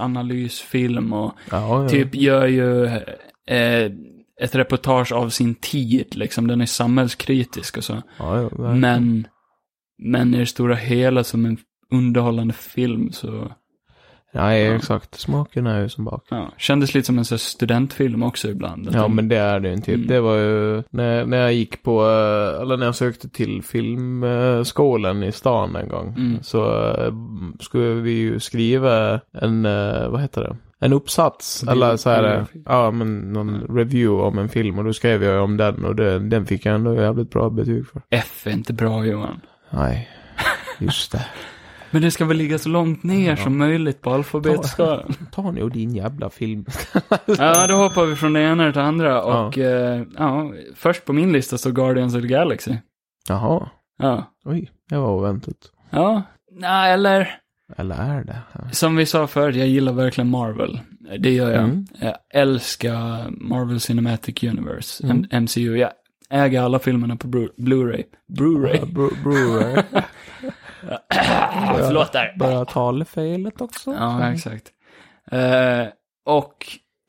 [SPEAKER 1] karaktärsanalysfilm och
[SPEAKER 2] Ja, ja.
[SPEAKER 1] typ gör ju eh, ett reportage av sin tid, liksom. Den är samhällskritisk och så.
[SPEAKER 2] ja, ja, verkligen.
[SPEAKER 1] Men, men i det stora hela som en underhållande film så,
[SPEAKER 2] Nej,
[SPEAKER 1] Ja.
[SPEAKER 2] exakt. Smaken är ju som bak.
[SPEAKER 1] ja, kändes lite som en så här studentfilm också ibland. Att
[SPEAKER 2] Ja,
[SPEAKER 1] de-
[SPEAKER 2] men det är det ju inte.
[SPEAKER 1] Mm.
[SPEAKER 2] Det var ju när, när jag gick på, eh, eller när jag sökte till filmskolan i stan en gång.
[SPEAKER 1] Mm.
[SPEAKER 2] Så eh, skulle vi ju skriva en, eh, vad heter det? En uppsats,
[SPEAKER 1] Bio-
[SPEAKER 2] eller så här, eh,
[SPEAKER 1] biografi.
[SPEAKER 2] ja men någon review om en film och då skrev jag om den och det, den fick jag ändå jävligt bra betyg för.
[SPEAKER 1] F är inte bra Johan.
[SPEAKER 2] Nej, [laughs] just det.
[SPEAKER 1] Men det ska väl ligga så långt ner
[SPEAKER 2] Ja.
[SPEAKER 1] som möjligt på alfabetskalan.
[SPEAKER 2] Ta nu din jävla film.
[SPEAKER 1] Ja, då hoppar vi från det ena till det andra och eh, ja, först på min lista står Guardians of the Galaxy.
[SPEAKER 2] Jaha,
[SPEAKER 1] Ja.
[SPEAKER 2] oj, det var oväntat.
[SPEAKER 1] Ja, nej eller
[SPEAKER 2] Eller är det?
[SPEAKER 1] som vi sa förut, jag gillar verkligen Marvel. Det gör jag.
[SPEAKER 2] Mm.
[SPEAKER 1] Jag älskar Marvel Cinematic Universe,
[SPEAKER 2] Mm.
[SPEAKER 1] M- MCU. Jag äger alla filmerna på Blu- Blu-ray.
[SPEAKER 2] Ja,
[SPEAKER 1] Blu-ray.
[SPEAKER 2] bro- Brewer.
[SPEAKER 1] [laughs] Förlåt där.
[SPEAKER 2] Bara talfelet också.
[SPEAKER 1] Ja, exakt. Eh, och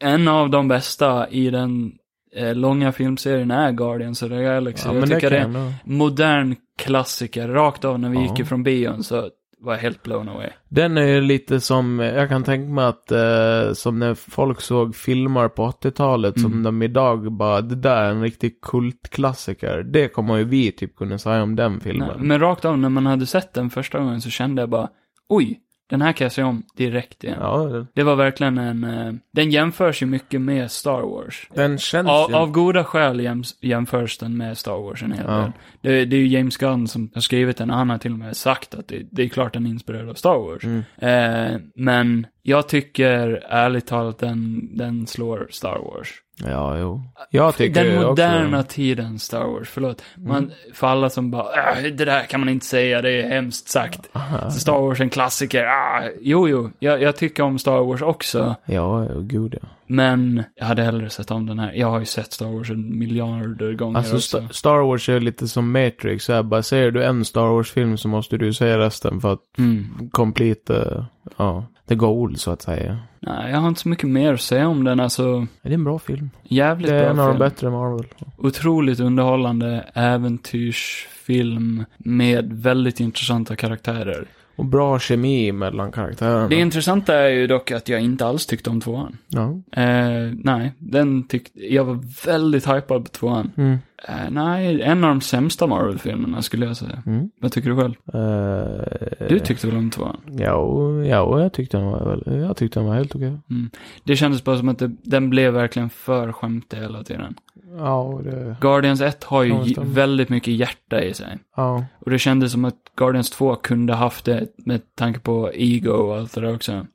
[SPEAKER 1] en av de bästa i den eh, långa filmserierna är Guardians of the Galaxy. jag tycker det är en
[SPEAKER 2] kan jag.
[SPEAKER 1] modern klassiker. Rakt av när vi
[SPEAKER 2] Ja.
[SPEAKER 1] gick ifrån bion så var jag helt blown away.
[SPEAKER 2] Den är ju lite som, jag kan tänka mig att eh, som när folk såg filmer på 80-talet som
[SPEAKER 1] Mm.
[SPEAKER 2] de idag bara, det där är en riktig kultklassiker. Det kommer ju vi typ kunna säga om den
[SPEAKER 1] Nej,
[SPEAKER 2] filmen.
[SPEAKER 1] men rakt av, när man hade sett den första gången så kände jag bara, oj, den här kan jag se om direkt igen.
[SPEAKER 2] Ja, det-
[SPEAKER 1] Det var verkligen en, eh, den jämförs ju mycket med Star Wars.
[SPEAKER 2] den känns
[SPEAKER 1] Av,
[SPEAKER 2] ju...
[SPEAKER 1] av goda skäl jäms, jämförs den med Star Wars en hel
[SPEAKER 2] Ja.
[SPEAKER 1] del. Det, det är ju James Gunn som har skrivit den och han har till och med sagt att det, det är klart den är inspirerad av Star Wars.
[SPEAKER 2] Mm.
[SPEAKER 1] Eh, men jag tycker ärligt talat den, den slår Star Wars.
[SPEAKER 2] Ja, jo. Jag tycker
[SPEAKER 1] Den
[SPEAKER 2] ju
[SPEAKER 1] moderna
[SPEAKER 2] Också, Mm.
[SPEAKER 1] tiden Star Wars, förlåt. Man, För alla som bara, "Äh, det där kan man inte säga, det är hemskt sagt. Så Star Wars är en klassiker, ah, jo jo, jag, jag tycker om Star Wars också.
[SPEAKER 2] ja, jo, gud ja.
[SPEAKER 1] Men jag hade hellre sett om den här. Jag har ju sett Star Wars en miljarder gånger
[SPEAKER 2] Alltså
[SPEAKER 1] också.
[SPEAKER 2] Sta- Star Wars är lite som Matrix. Så här, bara, ser du en Star Wars-film så måste du säga resten för att
[SPEAKER 1] Mm.
[SPEAKER 2] complete, eh, ja, the goal så att säga.
[SPEAKER 1] Nej, jag har inte så mycket mer att säga om den. Alltså,
[SPEAKER 2] Ja, Det är en bra film.
[SPEAKER 1] jävligt
[SPEAKER 2] Det är en
[SPEAKER 1] bra
[SPEAKER 2] av
[SPEAKER 1] film.
[SPEAKER 2] de bättre Marvel.
[SPEAKER 1] Otroligt underhållande äventyrsfilm med väldigt intressanta karaktärer.
[SPEAKER 2] Och bra kemi mellan karaktärerna.
[SPEAKER 1] Det intressanta är ju dock att jag inte alls tyckte om tvåan.
[SPEAKER 2] Ja.
[SPEAKER 1] Eh, nej, den tyckte, jag var väldigt hypad på tvåan.
[SPEAKER 2] Mm.
[SPEAKER 1] Eh, nej, en av de sämsta Marvel-filmerna skulle jag säga.
[SPEAKER 2] Mm.
[SPEAKER 1] Vad tycker du själv?
[SPEAKER 2] Eh,
[SPEAKER 1] Du tyckte väl om tvåan?
[SPEAKER 2] Ja, och- ja och jag tyckte den var, väl- jag tyckte den var helt okej.
[SPEAKER 1] Det kändes bara som att det, den blev verkligen för skämtig hela tiden.
[SPEAKER 2] Ja, och det...
[SPEAKER 1] Guardians 1 har ju
[SPEAKER 2] Ja, det
[SPEAKER 1] j-
[SPEAKER 2] stämmer.
[SPEAKER 1] väldigt mycket hjärta i sig.
[SPEAKER 2] Ja.
[SPEAKER 1] Och det kändes som att Guardians 2 kunde haft det med tanke på ego och allt det där också.
[SPEAKER 2] Ja,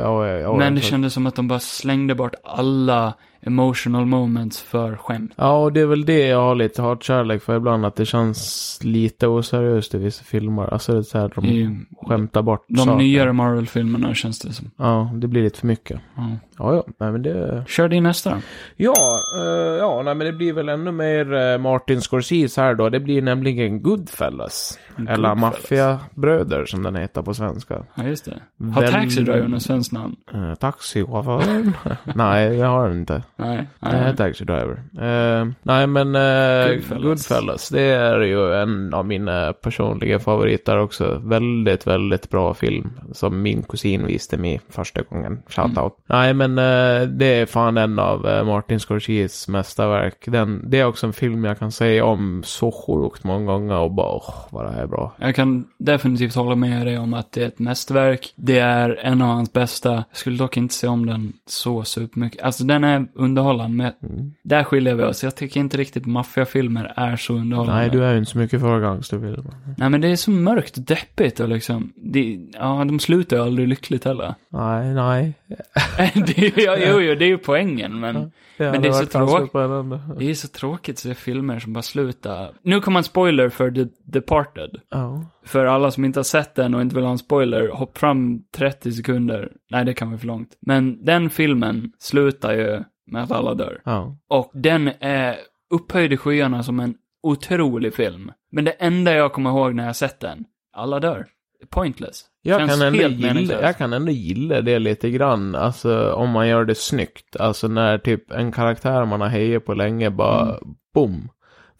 [SPEAKER 2] ja, ja, ja.
[SPEAKER 1] Men det
[SPEAKER 2] ja.
[SPEAKER 1] kändes som att de bara slängde bort alla emotional moments för skämt.
[SPEAKER 2] Ja, och det är väl det jag har lite hatkärlek för ibland, att det känns lite oseriöst i vissa filmer. Alltså det är så här, de
[SPEAKER 1] I
[SPEAKER 2] skämtar bort
[SPEAKER 1] Mm. de nyare Marvel-filmerna känns det som.
[SPEAKER 2] Ja, det blir lite för mycket.
[SPEAKER 1] Ja.
[SPEAKER 2] Ja, ja, nej men det...
[SPEAKER 1] Kör din nästa då.
[SPEAKER 2] Ja, eh, ja, nej men det blir väl ännu mer eh, Martin Scorsese här då. Det blir nämligen Goodfellas. Eller
[SPEAKER 1] Goodfellas.
[SPEAKER 2] Maffiabröder som den heter på svenska.
[SPEAKER 1] Ja, just det. Har
[SPEAKER 2] Väl-
[SPEAKER 1] Taxi Driver något svenskt namn?
[SPEAKER 2] Eh, taxichauffören? nej, jag har den inte.
[SPEAKER 1] Nej.
[SPEAKER 2] Nej,
[SPEAKER 1] nej.
[SPEAKER 2] Taxi Driver. Eh, nej, men eh,
[SPEAKER 1] Goodfellas.
[SPEAKER 2] Goodfellas. det är ju en av mina personliga favoriter också. Väldigt, väldigt bra film som min kusin visste mig första gången. Shout
[SPEAKER 1] Mm.
[SPEAKER 2] out. Nej, men eh, det är fan en av eh, Martin Scorseses mästerverk. Den, det är också en film jag kan säga om så sjukt många gånger och bara åh, vad det här är bra.
[SPEAKER 1] Jag kan definitivt hålla med dig om att det är ett mästerverk. Det är en av hans bästa. Jag skulle dock inte se om den så supermycket. Alltså den är underhållande, men
[SPEAKER 2] Mm.
[SPEAKER 1] där skiljer vi oss. Jag tycker inte riktigt maffiafilmer är så underhållande.
[SPEAKER 2] Nej, du är ju inte så mycket för gangsterfilmer.
[SPEAKER 1] Nej, men det är så mörkt och deppigt och liksom. Det, ja, de slutar ju aldrig lyckligt heller. [laughs]
[SPEAKER 2] Nej, nej.
[SPEAKER 1] det, är ju- ja, jo, jo, det är ju poängen, men
[SPEAKER 2] hade
[SPEAKER 1] det är så
[SPEAKER 2] varit ganska
[SPEAKER 1] tråkigt.
[SPEAKER 2] spännande.
[SPEAKER 1] det är så tråkigt att se filmer som bara slutar. Nu kommer en spoiler för The Departed.
[SPEAKER 2] Ja.
[SPEAKER 1] För alla som inte har sett den och inte vill ha en spoiler, hopp fram 30 sekunder. Nej, det kan vara för långt. Men den filmen slutar ju med att alla dör.
[SPEAKER 2] Ja.
[SPEAKER 1] Och den är upphöjd i skyarna som en otrolig film. Men det enda jag kommer ihåg när jag sett den, alla dör. Pointless.
[SPEAKER 2] Jag
[SPEAKER 1] Känns
[SPEAKER 2] kan, ändå
[SPEAKER 1] helt
[SPEAKER 2] gilla,
[SPEAKER 1] meningslöst.
[SPEAKER 2] jag kan ändå gilla det lite grann, alltså om man gör det snyggt. Alltså när typ en karaktär man har hejat på länge bara
[SPEAKER 1] Mm.
[SPEAKER 2] boom.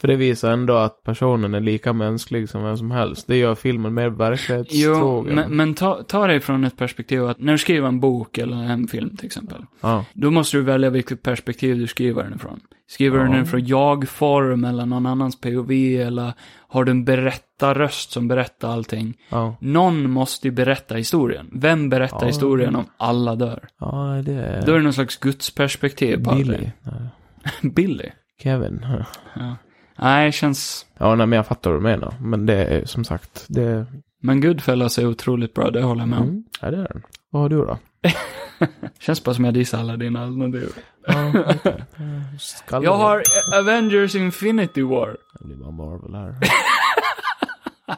[SPEAKER 2] För det visar ändå att personen är lika mänsklig som vem som helst. Det gör filmen mer
[SPEAKER 1] Jo,
[SPEAKER 2] verklighetstrogen.
[SPEAKER 1] men, men ta, ta det från ett perspektiv att när du skriver en bok eller en film till exempel.
[SPEAKER 2] Ja,
[SPEAKER 1] Då måste du välja vilket perspektiv du skriver den ifrån. Skriver du den
[SPEAKER 2] Ja.
[SPEAKER 1] ifrån jag-form eller någon annans POV eller har du en berättarröst som berättar allting?
[SPEAKER 2] ja,
[SPEAKER 1] Någon måste ju berätta historien. Vem berättar
[SPEAKER 2] Ja.
[SPEAKER 1] historien om alla dör?
[SPEAKER 2] ja, det är...
[SPEAKER 1] Då är det någon slags gudsperspektiv på
[SPEAKER 2] Billy.
[SPEAKER 1] allting. [laughs]
[SPEAKER 2] Nej,
[SPEAKER 1] Billy?
[SPEAKER 2] Kevin.
[SPEAKER 1] Nej, känns...
[SPEAKER 2] Ja, nej, men jag fattar vad du menar. Men det är som sagt, det...
[SPEAKER 1] Men Goodfellas är otroligt bra, det håller jag med om.
[SPEAKER 2] Mm. Ja, det är den. Vad har
[SPEAKER 1] [laughs]
[SPEAKER 2] du då?
[SPEAKER 1] Känns bara som jag dissar alla dina alternativ.
[SPEAKER 2] Ja, okej. Eh, skallig.
[SPEAKER 1] Jag har Avengers Infinity War.
[SPEAKER 2] Det blir bara Marvel här.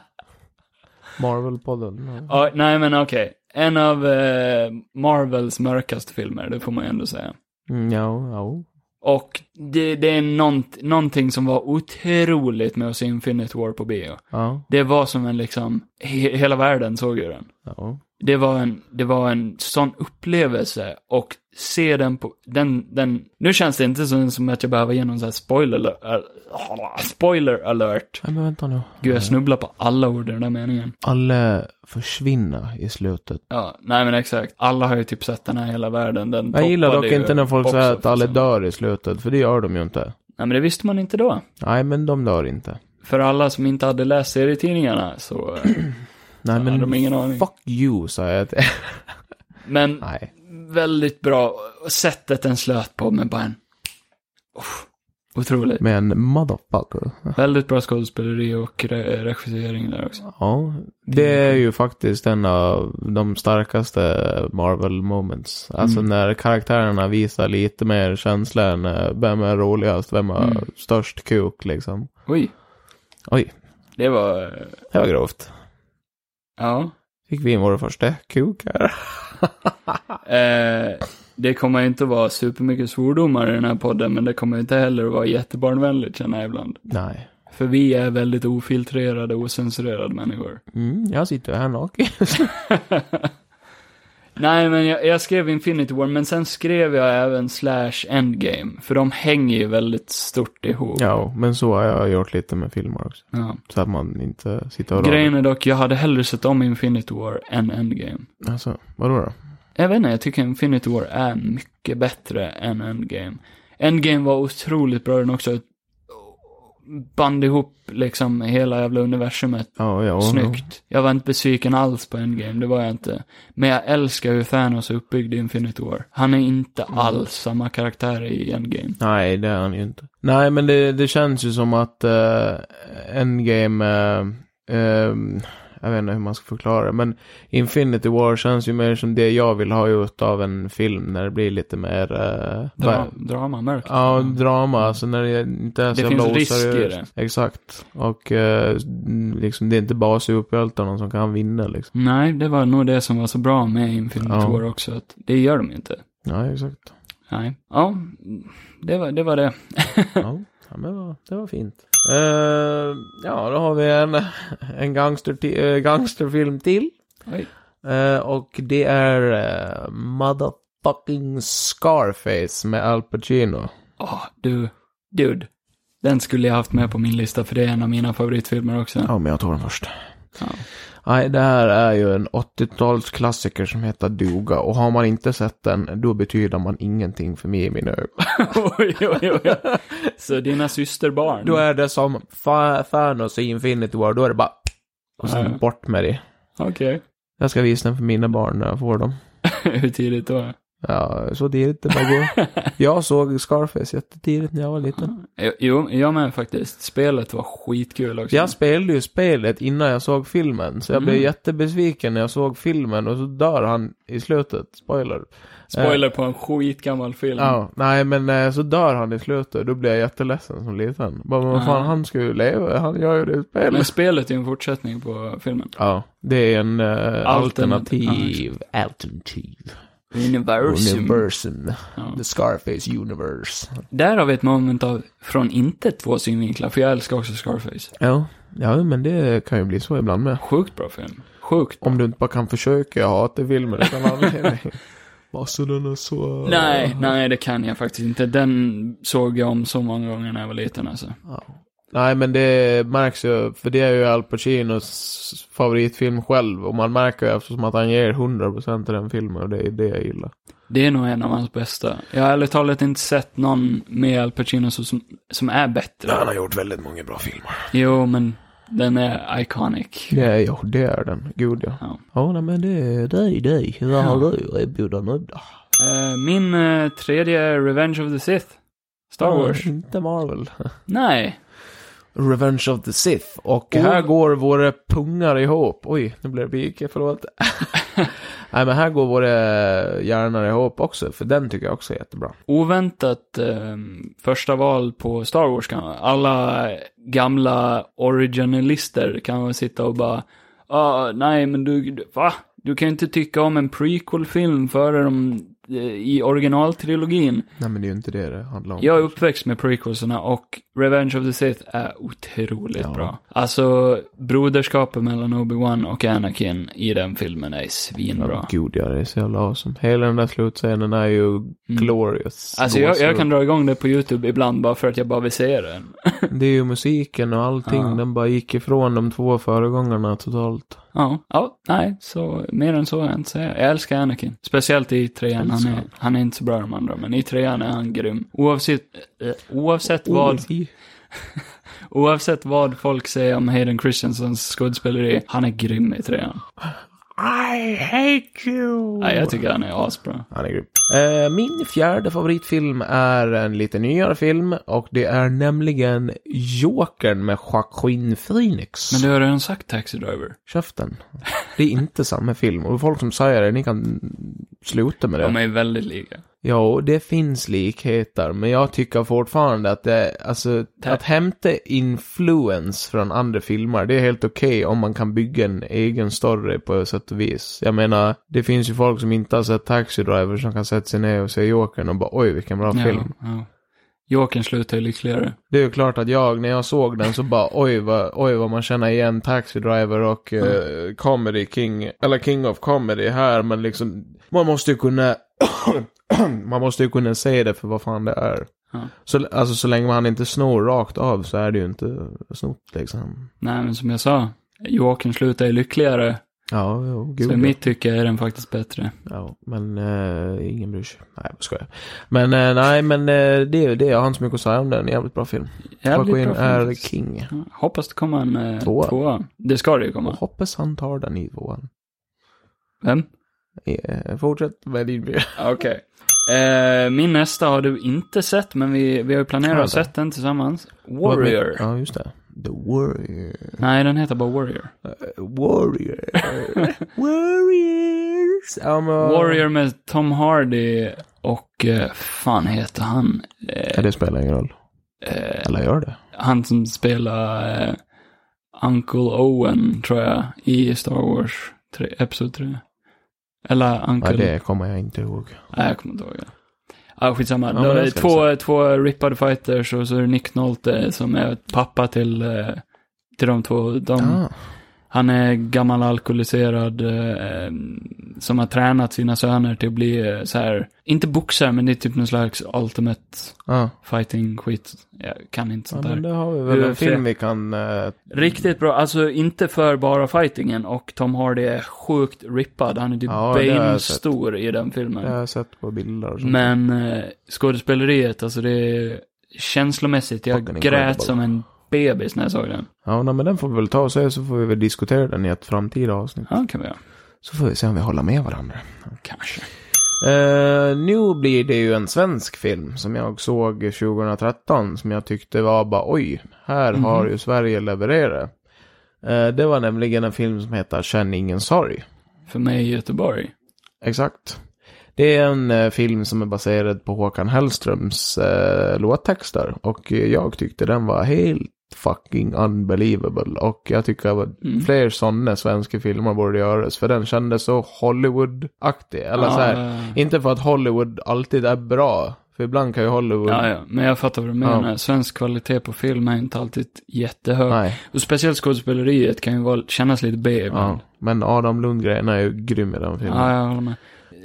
[SPEAKER 2] [laughs] Marvel-podden. ja.
[SPEAKER 1] Ja, nej men okej. En av eh, Marvels mörkaste filmer, det får man ju ändå säga.
[SPEAKER 2] Mm, ja, ja.
[SPEAKER 1] Och det, det är nånt, någonting som var otroligt med att se Infinite War på bio.
[SPEAKER 2] Ja,
[SPEAKER 1] Det var som en liksom, he, hela världen såg ju den.
[SPEAKER 2] ja.
[SPEAKER 1] det var en, det var en sån upplevelse och se den på, den, den, nu känns det inte som, som att jag behöver ge någon sån här spoiler, al- spoiler alert.
[SPEAKER 2] Nej, men vänta nu.
[SPEAKER 1] Gud, jag snubblar på alla ord i den där meningen.
[SPEAKER 2] Alla försvinner i slutet.
[SPEAKER 1] Ja, nej men exakt. Alla har ju typ sett den här hela världen. Den
[SPEAKER 2] Jag gillar
[SPEAKER 1] toppade
[SPEAKER 2] dock
[SPEAKER 1] ju
[SPEAKER 2] inte när folk
[SPEAKER 1] box
[SPEAKER 2] säger att alla
[SPEAKER 1] officen.
[SPEAKER 2] dör i slutet, för det gör de ju inte.
[SPEAKER 1] Nej men det visste man inte då.
[SPEAKER 2] Nej, men de dör inte.
[SPEAKER 1] För alla som inte hade läst serietidningarna så eh,
[SPEAKER 2] Nej,
[SPEAKER 1] hade de
[SPEAKER 2] [clears throat] men
[SPEAKER 1] ingen aning.
[SPEAKER 2] fuck you, sa jag. till-
[SPEAKER 1] Men
[SPEAKER 2] Nej.
[SPEAKER 1] väldigt bra sättet den slöt på med bara en... Uff, otroligt.
[SPEAKER 2] Men motherfucker.
[SPEAKER 1] Väldigt bra skådespeleri och re- regissering där också.
[SPEAKER 2] Ja, det är ju faktiskt en av de starkaste Marvel moments. Alltså
[SPEAKER 1] Mm.
[SPEAKER 2] när karaktärerna visar lite mer känsla än eh, vem är roligast, vem har
[SPEAKER 1] Mm.
[SPEAKER 2] störst kuk liksom.
[SPEAKER 1] Oj.
[SPEAKER 2] Oj.
[SPEAKER 1] Det var... eh,
[SPEAKER 2] Det var grovt.
[SPEAKER 1] Ja.
[SPEAKER 2] Fick vi in vår första kuk här.
[SPEAKER 1] Eh, det kommer ju inte att vara supermycket svordomar i den här podden, men det kommer ju inte heller att vara jättebarnvänligt känner jag ibland.
[SPEAKER 2] Nej.
[SPEAKER 1] För vi är väldigt ofiltrerade, osensurerade människor.
[SPEAKER 2] Mm, jag sitter här naken.
[SPEAKER 1] Nej, men jag, jag skrev Infinity War, men sen skrev jag även Slash Endgame, för de hänger ju väldigt stort ihop.
[SPEAKER 2] ja, men så har jag gjort lite med filmer också.
[SPEAKER 1] Ja.
[SPEAKER 2] Så att man inte sitter och
[SPEAKER 1] Grejen är dock, jag hade hellre sett om Infinity War än Endgame.
[SPEAKER 2] Alltså, vadå då?
[SPEAKER 1] Jag vet inte, jag tycker Infinity War är mycket bättre än Endgame. Endgame var otroligt bra den också. Band ihop liksom hela jävla universumet
[SPEAKER 2] Ja, ja.
[SPEAKER 1] snyggt. Jag var inte besviken alls på Endgame, det var jag inte. Men jag älskar hur Thanos är uppbyggd i Infinity War. Han är inte
[SPEAKER 2] Mm.
[SPEAKER 1] alls samma karaktär i Endgame.
[SPEAKER 2] Nej, det är han ju inte. Nej, men det, det känns ju som att eh, Endgame, eh, ehm, jag vet inte hur man ska förklara det, men Infinity War känns ju mer som det jag vill ha ut av en film när det blir lite mer... eh,
[SPEAKER 1] Dra,
[SPEAKER 2] vad-
[SPEAKER 1] drama, mörkt.
[SPEAKER 2] Ja, drama, alltså när det inte är så
[SPEAKER 1] Det
[SPEAKER 2] jävla
[SPEAKER 1] finns risk i
[SPEAKER 2] oseriöst. Exakt. Och eh, liksom, det är inte bara superhjältarna som kan vinna liksom.
[SPEAKER 1] Nej, det var nog det som var så bra med Infinity
[SPEAKER 2] Ja.
[SPEAKER 1] War också, att det gör de inte.
[SPEAKER 2] Nej, exakt.
[SPEAKER 1] Nej. Ja, det var det. Var det.
[SPEAKER 2] Ja, ja men det var, det var fint. Eh, ja, då har vi en, en gangster ti- eh, gangsterfilm till.
[SPEAKER 1] Oj.
[SPEAKER 2] Eh, och det är eh, Motherfucking Scarface med Al Pacino.
[SPEAKER 1] Åh, du. Dude. Den skulle jag haft med på min lista för det är en av mina favoritfilmer också.
[SPEAKER 2] [laughs] Ja, men jag tar den först.
[SPEAKER 1] Ja.
[SPEAKER 2] Nej, det här är ju en 80-talsklassiker som heter Duga. Och har man inte sett den, då betyder man ingenting för mig i mina ögon.
[SPEAKER 1] oj, oj, oj. Så dina systerbarn.
[SPEAKER 2] Då är det som Fa- Thanos i Infinity War, då är det bara... Och
[SPEAKER 1] Ja, ja.
[SPEAKER 2] sen bort med det.
[SPEAKER 1] Okej. [laughs]
[SPEAKER 2] Jag ska visa den för mina barn när jag får dem.
[SPEAKER 1] Hur tidigt då?
[SPEAKER 2] Ja, så tidigt det bara går. Jag såg Scarface jättetidigt när jag var liten.
[SPEAKER 1] Jo, jag med faktiskt. Spelet var skitkul också.
[SPEAKER 2] Jag spelade ju spelet innan jag såg filmen, så jag blev
[SPEAKER 1] Mm.
[SPEAKER 2] jättebesviken när jag såg filmen och så dör han i slutet. Spoiler.
[SPEAKER 1] Spoiler på en skitgammal film.
[SPEAKER 2] Ja, nej men eh, så dör han i slutet, då blir jag jätteledsen som liten. Bara, men vad fan,
[SPEAKER 1] Ah.
[SPEAKER 2] han ska ju leva, han gör ju det i spelet.
[SPEAKER 1] Men spelet är ju en fortsättning på filmen.
[SPEAKER 2] Ja, det är en eh,
[SPEAKER 1] Alternativ.
[SPEAKER 2] alternativ, alternativ
[SPEAKER 1] Universum.
[SPEAKER 2] universum.
[SPEAKER 1] Ja.
[SPEAKER 2] The Scarface universe.
[SPEAKER 1] Där har vi ett moment av, från inte två synvinklar, för jag älskar också Scarface.
[SPEAKER 2] Ja, ja men det kan ju bli så ibland med.
[SPEAKER 1] Sjukt bra film. Sjukt.
[SPEAKER 2] Om du inte bara kan försöka hata filmer [laughs] utan anledning. Alltså den är så...
[SPEAKER 1] Nej, nej det kan jag faktiskt inte. Den såg jag om så många gånger när jag var liten alltså.
[SPEAKER 2] Ja. Nej men det märks ju, för det är ju Al Pacinos favoritfilm själv. Och man märker ju eftersom att han ger 100% till den filmen och det är det jag gillar.
[SPEAKER 1] Det är nog en av hans bästa. Jag har ärligt talat inte sett någon med Al Pacino som, som är bättre.
[SPEAKER 2] har gjort väldigt många bra filmer.
[SPEAKER 1] Jo, men den är iconic.
[SPEAKER 2] Det är, ja, det är den. Gud ja.
[SPEAKER 1] Ja.
[SPEAKER 2] Ja, nej, men det är dig, dig. Vad har du att erbjuda nu då?
[SPEAKER 1] Eh, min eh, tredje är Revenge of the Sith. Star Wars.
[SPEAKER 2] Ja, inte Marvel.
[SPEAKER 1] Nej.
[SPEAKER 2] Revenge of the Sith. Och
[SPEAKER 1] Oh.
[SPEAKER 2] här går våra pungar ihop. Oj, nu blev det pike, [laughs] förlåt. Nej, men här går våra hjärnor ihop också, för den tycker jag också är jättebra.
[SPEAKER 1] Oväntat eh, första val på Star Wars kan Alla gamla originalister kan väl sitta och bara, ah, nej men du, du- va? Du kan ju inte tycka om en prequel-film före de eh, i originaltrilogin.
[SPEAKER 2] Nej men det är ju inte det det handlar om.
[SPEAKER 1] Jag är uppväxt med prequelserna och Revenge of the Sith är otroligt
[SPEAKER 2] Ja.
[SPEAKER 1] bra. Alltså, broderskapet mellan Obi-Wan och Anakin i den filmen är svinbra.
[SPEAKER 2] Ja, Gud ja, det är så jävla awesome. Hela den där slutscenen är ju glorious.
[SPEAKER 1] Mm. Alltså jag, jag
[SPEAKER 2] Gåshud.
[SPEAKER 1] kan dra igång det på YouTube ibland bara för att jag bara vill se den.
[SPEAKER 2] Det är ju musiken och allting.
[SPEAKER 1] Ja.
[SPEAKER 2] Den bara gick ifrån de två föregångarna totalt.
[SPEAKER 1] Ja, ja, nej, så mer än så har jag inte säga. Jag älskar Anakin. Speciellt i trean. Han är, han är inte så bra i de andra, men i trean är han grym. Oavsett, eh, oavsett vad
[SPEAKER 2] Oj.
[SPEAKER 1] Oavsett vad folk säger om Hayden Christiansens skådespeleri, han är grym i trean.
[SPEAKER 2] I hate you!
[SPEAKER 1] Nej, jag tycker han är asbra.
[SPEAKER 2] Han är grym. Eh, min fjärde favoritfilm är en lite nyare film och det är nämligen Jokern med Joaquin Phoenix.
[SPEAKER 1] Men du har redan sagt Taxi Driver.
[SPEAKER 2] Käften. Det är inte samma film och folk som säger det, ni kan sluta med det.
[SPEAKER 1] De är väldigt lika.
[SPEAKER 2] Ja, det finns likheter, men jag tycker fortfarande att det, alltså, att hämta influens från andra filmer, det är helt okej om man kan bygga en egen story på sätt och vis. Jag menar, det finns ju folk som inte har sett Taxi Driver som kan sätta sig ner och se Jokern och bara oj, vilken bra film.
[SPEAKER 1] Ja, ja. Jokern slutar ju lyckligare.
[SPEAKER 2] Det är ju klart att jag, när jag såg den så bara oj vad, oj vad man känner igen Taxi Driver och
[SPEAKER 1] Mm.
[SPEAKER 2] eh, Comedy King, eller King of Comedy här, men liksom man måste ju kunna [clears throat] man måste ju kunna se det för vad fan det är.
[SPEAKER 1] Ja.
[SPEAKER 2] Så, alltså så länge man inte snor rakt av så är det ju inte snott liksom.
[SPEAKER 1] Nej, men som jag sa, Jokern slutar ju lyckligare.
[SPEAKER 2] Ja, jo, gud.
[SPEAKER 1] Så i
[SPEAKER 2] ja.
[SPEAKER 1] mitt tycke är den faktiskt bättre.
[SPEAKER 2] Ja, men eh, ingen bryr sig. Nej, jag skojar. Men eh, nej, men eh, det är ju det. Jag har inte så mycket att säga om den. Jävligt bra film.
[SPEAKER 1] Jävligt
[SPEAKER 2] Joaquin
[SPEAKER 1] bra film.
[SPEAKER 2] är
[SPEAKER 1] faktiskt.
[SPEAKER 2] king.
[SPEAKER 1] Ja, Hoppas det kommer en eh,
[SPEAKER 2] Tvåa.
[SPEAKER 1] tvåa. Det ska det ju komma.
[SPEAKER 2] Hoppas han tar den i tvåan.
[SPEAKER 1] Vem?
[SPEAKER 2] Eh, fortsätt med din björn.
[SPEAKER 1] Okej. Eh, min nästa har du inte sett, men vi, vi har ju planerat
[SPEAKER 2] Ja,
[SPEAKER 1] att
[SPEAKER 2] det.
[SPEAKER 1] sett den tillsammans. [laughs] Warrior.
[SPEAKER 2] Ja, just det. The Warrior.
[SPEAKER 1] Nej, den heter bara Warrior.
[SPEAKER 2] Eh, Warrior. [laughs] Warriors. Ja, men,
[SPEAKER 1] Warrior med Tom Hardy och eh, fan heter han? Eh,
[SPEAKER 2] Ja, det spelar ingen roll.
[SPEAKER 1] eh,
[SPEAKER 2] Eller gör det?
[SPEAKER 1] han som spelar eh, Uncle Owen, tror jag, i Star Wars 3, Episod 3. Eller Uncle...
[SPEAKER 2] Nej, det kommer jag inte ihåg.
[SPEAKER 1] Nej, jag kommer inte ihåg det. Ah, skitsamma.
[SPEAKER 2] Ja, men
[SPEAKER 1] Då är
[SPEAKER 2] den
[SPEAKER 1] det
[SPEAKER 2] ska
[SPEAKER 1] två, två rippade fighters och så är det Nick Nolte som är pappa till, eh, till de två. De,
[SPEAKER 2] Ah,
[SPEAKER 1] Han är gammal alkoholiserad eh, som har tränat sina söner till att bli eh, så här, inte boxare men det är typ någon slags ultimate
[SPEAKER 2] ah.
[SPEAKER 1] fighting skit. Jag kan inte
[SPEAKER 2] Ja,
[SPEAKER 1] sånt
[SPEAKER 2] men
[SPEAKER 1] där.
[SPEAKER 2] det har vi väl en
[SPEAKER 1] UFC.
[SPEAKER 2] film vi kan... eh,
[SPEAKER 1] Riktigt bra, alltså inte för bara fightingen och Tom Hardy är sjukt rippad. Han är typ
[SPEAKER 2] Ja, det har jag
[SPEAKER 1] Bane-stor i den filmen.
[SPEAKER 2] jag har sett på bilder och sånt.
[SPEAKER 1] Men eh, skådespeleriet, alltså det är känslomässigt. Jag
[SPEAKER 2] Fucking
[SPEAKER 1] grät
[SPEAKER 2] incredible.
[SPEAKER 1] som en bebis när jag såg den.
[SPEAKER 2] Ja, nej, men den får vi väl ta och se så får vi väl diskutera den i ett framtida avsnitt.
[SPEAKER 1] Ja, kan vi göra.
[SPEAKER 2] Så får vi se om vi håller med varandra.
[SPEAKER 1] Kanske.
[SPEAKER 2] Eh, nu blir det ju en svensk film som jag såg 2013 som jag tyckte var bara oj, här har ju Sverige levererat. Eh, det var nämligen en film som heter Känn ingen sorg.
[SPEAKER 1] För mig i Göteborg.
[SPEAKER 2] Exakt. Det är en eh, film som är baserad på Håkan Hellströms eh, låttexter och eh, jag tyckte den var helt fucking unbelievable och jag tycker att fler sådana svenska filmer borde göras för den kändes så Hollywood-aktig. Eller så här,
[SPEAKER 1] ja,
[SPEAKER 2] inte för att Hollywood alltid är bra, för ibland kan ju Hollywood...
[SPEAKER 1] ja, ja, men jag fattar vad du menar. Svensk kvalitet på film är inte alltid jättehög.
[SPEAKER 2] Nej,
[SPEAKER 1] Och speciellt skådespeleriet kan ju vara, kännas lite B ibland.
[SPEAKER 2] ja. Men Adam Lundgren är ju grym i den filmen.
[SPEAKER 1] Ja, jag håller med.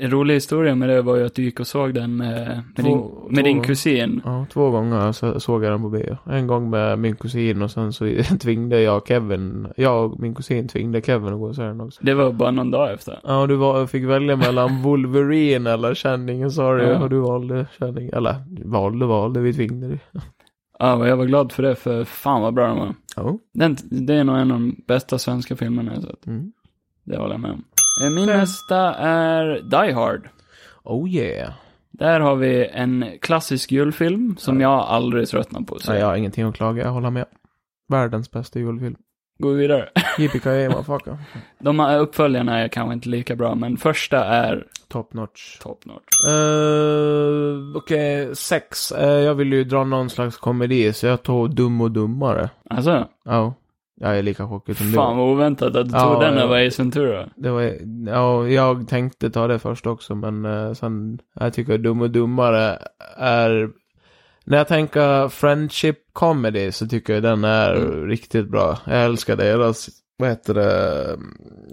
[SPEAKER 1] En rolig historia med det var ju att du gick och såg den med, med,
[SPEAKER 2] Två-
[SPEAKER 1] din, med din
[SPEAKER 2] två.
[SPEAKER 1] kusin.
[SPEAKER 2] Ja, två gånger så såg jag den på bio. En gång med min kusin och sen så [laughs] tvingade jag Kevin, jag och min kusin tvingade Kevin att gå och se den också.
[SPEAKER 1] Det var bara någon dag efter.
[SPEAKER 2] Ja, du var, fick
[SPEAKER 1] [laughs]
[SPEAKER 2] välja mellan Wolverine eller Känningen, sorry.
[SPEAKER 1] Ja.
[SPEAKER 2] Och du valde Känningen, eller valde, valde, vi tvingade dig.
[SPEAKER 1] Ja, och jag var glad för det, för fan vad bra den var.
[SPEAKER 2] Ja.
[SPEAKER 1] Den, det är nog en av de bästa svenska filmerna jag sett.
[SPEAKER 2] Mm.
[SPEAKER 1] Det håller jag med om. Eh, Min nästa är Die Hard.
[SPEAKER 2] Oh yeah.
[SPEAKER 1] Där har vi en klassisk julfilm som jag aldrig tröttnar på. Så
[SPEAKER 2] Nej, jag har ingenting att klaga, jag håller med. Världens bästa julfilm.
[SPEAKER 1] går vi vidare. [laughs]
[SPEAKER 2] Yippee-ki-yay, motherfucker.
[SPEAKER 1] De här uppföljarna är kanske inte lika bra, men första är
[SPEAKER 2] Top notch.
[SPEAKER 1] top notch.
[SPEAKER 2] Uh, Okej, Eh, sex. Eh, jag ville ju dra någon slags komedi, så jag tog Dum och Dummare.
[SPEAKER 1] Alltså,
[SPEAKER 2] Ja. Jag är lika chockad som
[SPEAKER 1] Fan
[SPEAKER 2] du.
[SPEAKER 1] vad oväntat att du
[SPEAKER 2] Ja,
[SPEAKER 1] tog den
[SPEAKER 2] ja.
[SPEAKER 1] av Ace Ventura.
[SPEAKER 2] Det var, ja, jag tänkte ta det först också, men eh, sen, jag tycker Dum och Dummare är... När jag tänker friendship comedy så tycker jag den är
[SPEAKER 1] Mm.
[SPEAKER 2] riktigt bra. Jag älskar deras, vad heter det,